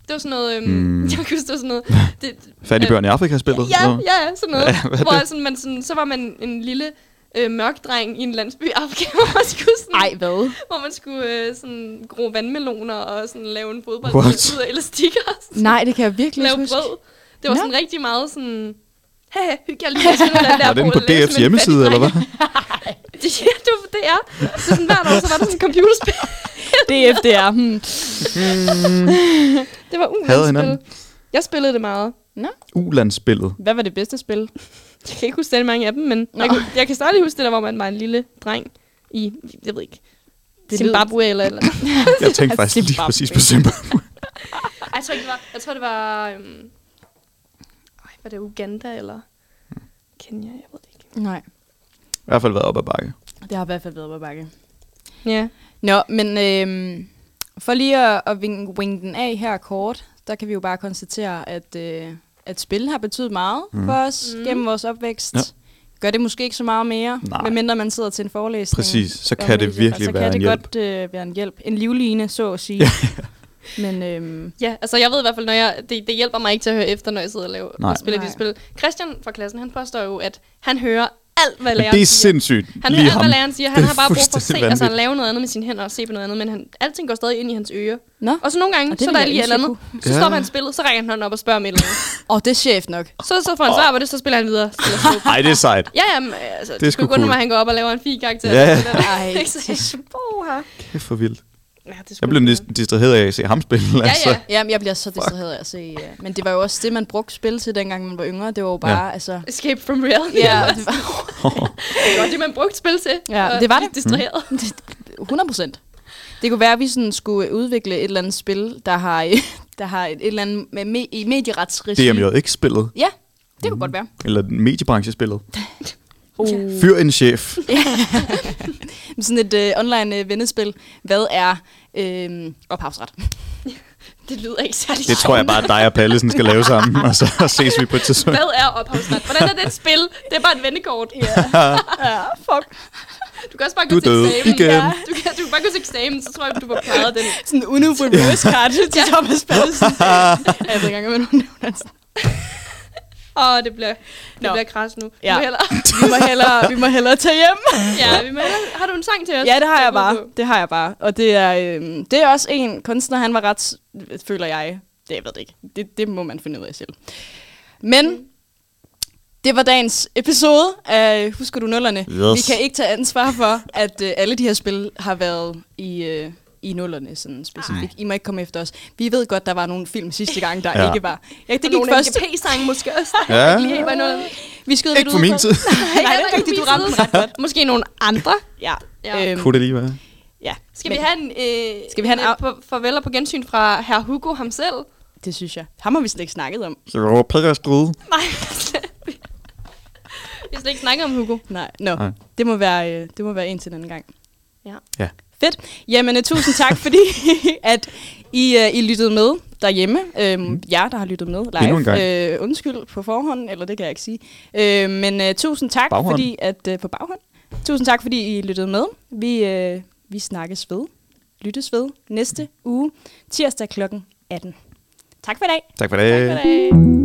Det var sådan noget, øhm, Mm. [LAUGHS] jeg kan huske, det var sådan noget, [LAUGHS] det, [LAUGHS] øh, Fattige børn i Afrika spillet. Ja, ja, ja, sådan [LAUGHS] noget. Ja, hvad er hvor det? sådan, man sådan, så var man en lille øh, mørk dreng i en landsby [LAUGHS] i Afrika, hvor man skulle, sådan, Ej, hvad? hvor man skulle øh, sådan, gro vandmeloner og sådan, lave en fodbold What? ud af elastikker. og sådan Nej, det kan jeg virkelig lave ikke huske. brød. Det var Nå. sådan rigtig meget sådan... Haha, hyg jer lige med sådan den der Var det inde brød, på lave som DF's en hjemmeside, fattig eller hvad? dreng. ja, [LAUGHS] det var det er. Så sådan hvert år, så var der sådan et computerspil. DF, det er. Hmm. Det var Hader ulandsspil. hinanden. Jeg spillede det meget. Ulandsspillet. Hvad var det bedste spil? Jeg kan ikke huske særlig mange af dem, men Nå. jeg, kunne, jeg kan stadig huske det der, hvor man var en lille dreng i, jeg ved ikke, lyder- det Zimbabwe eller eller andet. Jeg tænkte Altså, faktisk lige Zimbabwe. præcis på Simba. Ej, jeg tror ikke, det var, jeg tror, det var, øhm, øj, var det Uganda eller Kenya, jeg ved det ikke. Nej, I hvert fald været op ad bakke. det har i hvert fald været på bakke. Ja. Nå, men øhm, for lige at, at vinge, vinge den af her kort, der kan vi jo bare konstatere, at, øh, at spil har betydet meget mm. for os mm. gennem vores opvækst. Ja. Ja. Gør det måske ikke så meget mere, Nej. medmindre man sidder til en forelæsning. Præcis, så om kan det medier, virkelig så være en kan det hjælp. godt øh, være en hjælp. En livline, så at sige. Men øhm, Ja, altså jeg ved i hvert fald, når jeg, det, det hjælper mig ikke til at høre efter, når jeg sidder og, laver, Nej. og spiller de Nej. spil. Christian fra klassen, han påstår jo, at han hører alt, hvad Men læreren det er siger. sindssygt. Han hører lige alt, ham. hvad læreren siger. Han Det er har bare brug for at se, fuldstændig altså han vanvittigt. laver noget andet med sine hænder og se på noget andet, men han, alting går stadig ind i hans ører. nå, Og så nogle gange, Og det så er ville der jeg lige et eller andet. ønske, Så Ja. stopper han spillet, så rækker han hånden op og spørger om et eller andet. og det er chef nok. Så, så får han svar på det, så spiller han videre. Stiller sig op. Ej, det er [LAUGHS] sejt. Ja, ja, men, altså, det, er det sgu skulle kun, cool. når han går op og laver en fin karakter. [LAUGHS] Ja, ja. Ej, det [LAUGHS] er så Boha. Kæft for vildt. Ja, det er sgu Jeg blev cool. næsten distraheret af at se ham spille. Ja, Altså. ja. Jamen, jeg bliver så distraheret af at se. Ja. Men det var jo også det, man brugte spil til, dengang man var yngre. Det var jo bare, ja. altså... Escape from reality. Ja, Ja, det var, det var det, man brugte spil til. Ja, og det var blive det. Mm. Distraheret. 100 procent. Det kunne være, at vi sådan skulle udvikle et eller andet spil, der har, [LAUGHS] der har et, et eller andet med me, i medieretsregi. Det er jo ikke spillet. Ja, det kunne godt være. Eller mediebranchespillet. Uh. Fyr en chef. Sådan et øh, online øh, vendespil. Hvad er øh, ophavsret? [LAUGHS] Det lyder ikke særlig Det tror jeg bare, at dig og Pallesen skal lave sammen, og så ses vi på et tidspunkt. Hvad er ophavsret? Hvordan er det et spil? Det er bare et vendekort. [LAUGHS] Yeah. Ja, fuck. Du kan også bare Du gå er til død eksamen. igen. Ja. Du, kan, du kan bare gå til eksamen, så tror jeg, du får klaret den. Sådan en Uno reverse card til Thomas Pallesen. Ja, jeg ved ikke engang, hvad nogen nævner. det. Åh, det bliver, det Nå. bliver kras nu. Ja. Ja. Vi Vi må må hellere, hellere, vi må hellere tage hjem. [LAUGHS] ja, vi må hellere, har du en sang til os? Ja, det har jeg Gå bare. på. Det har jeg bare. Og det er, øh, det er også en kunstner, han var ret, s- føler jeg. Det jeg ved det ikke. Det, det må man finde ud af selv. Men Mm. det var dagens episode af Husker du nullerne? Yes. Vi kan ikke tage ansvar for, at øh, alle de her spil har været i... Øh, i nullerne sådan specifikt. I må ikke komme efter os. Vi ved godt, der var nogle film sidste gang, der Ja. ikke var. Ja, det Det gik gik først. først. NGP-sang måske også. Ja. Lige var [LAUGHS] noget. Vi skyder Ikke lidt for ud min på- tid. Nej, det er rigtigt, du ramte den ret [LAUGHS] godt. Måske nogle andre. Ja. Ja. Øhm, Kunne det lige være? ja. Skal Men vi have en, øh, Skal vi have en øh, af- på- farvel og på gensyn fra herr Hugo ham selv? Det synes jeg. Ham har vi slet ikke snakket om. Så var Peter Strude. Nej. [LAUGHS] Vi skal ikke snakke om Hugo. Nej, Nej. no. Nej. Det, må være, øh, det må være en til den anden gang. Ja. Ja. Fedt. Jamen, øh, tusind tak, [LAUGHS] fordi at I, øh, I lyttede med derhjemme. Øhm, mm. Jer, der har lyttet med live. Endnu en gang. Øh, undskyld på forhånd, eller det kan jeg ikke sige. Øh, men øh, tusind tak, Baghånd. fordi at øh, på baghånd. Tusind tak, fordi I lyttede med. Vi, øh, vi snakkes ved, lyttes ved næste uge, tirsdag kl. 18. Tak for i dag. Tak for det. Goddag.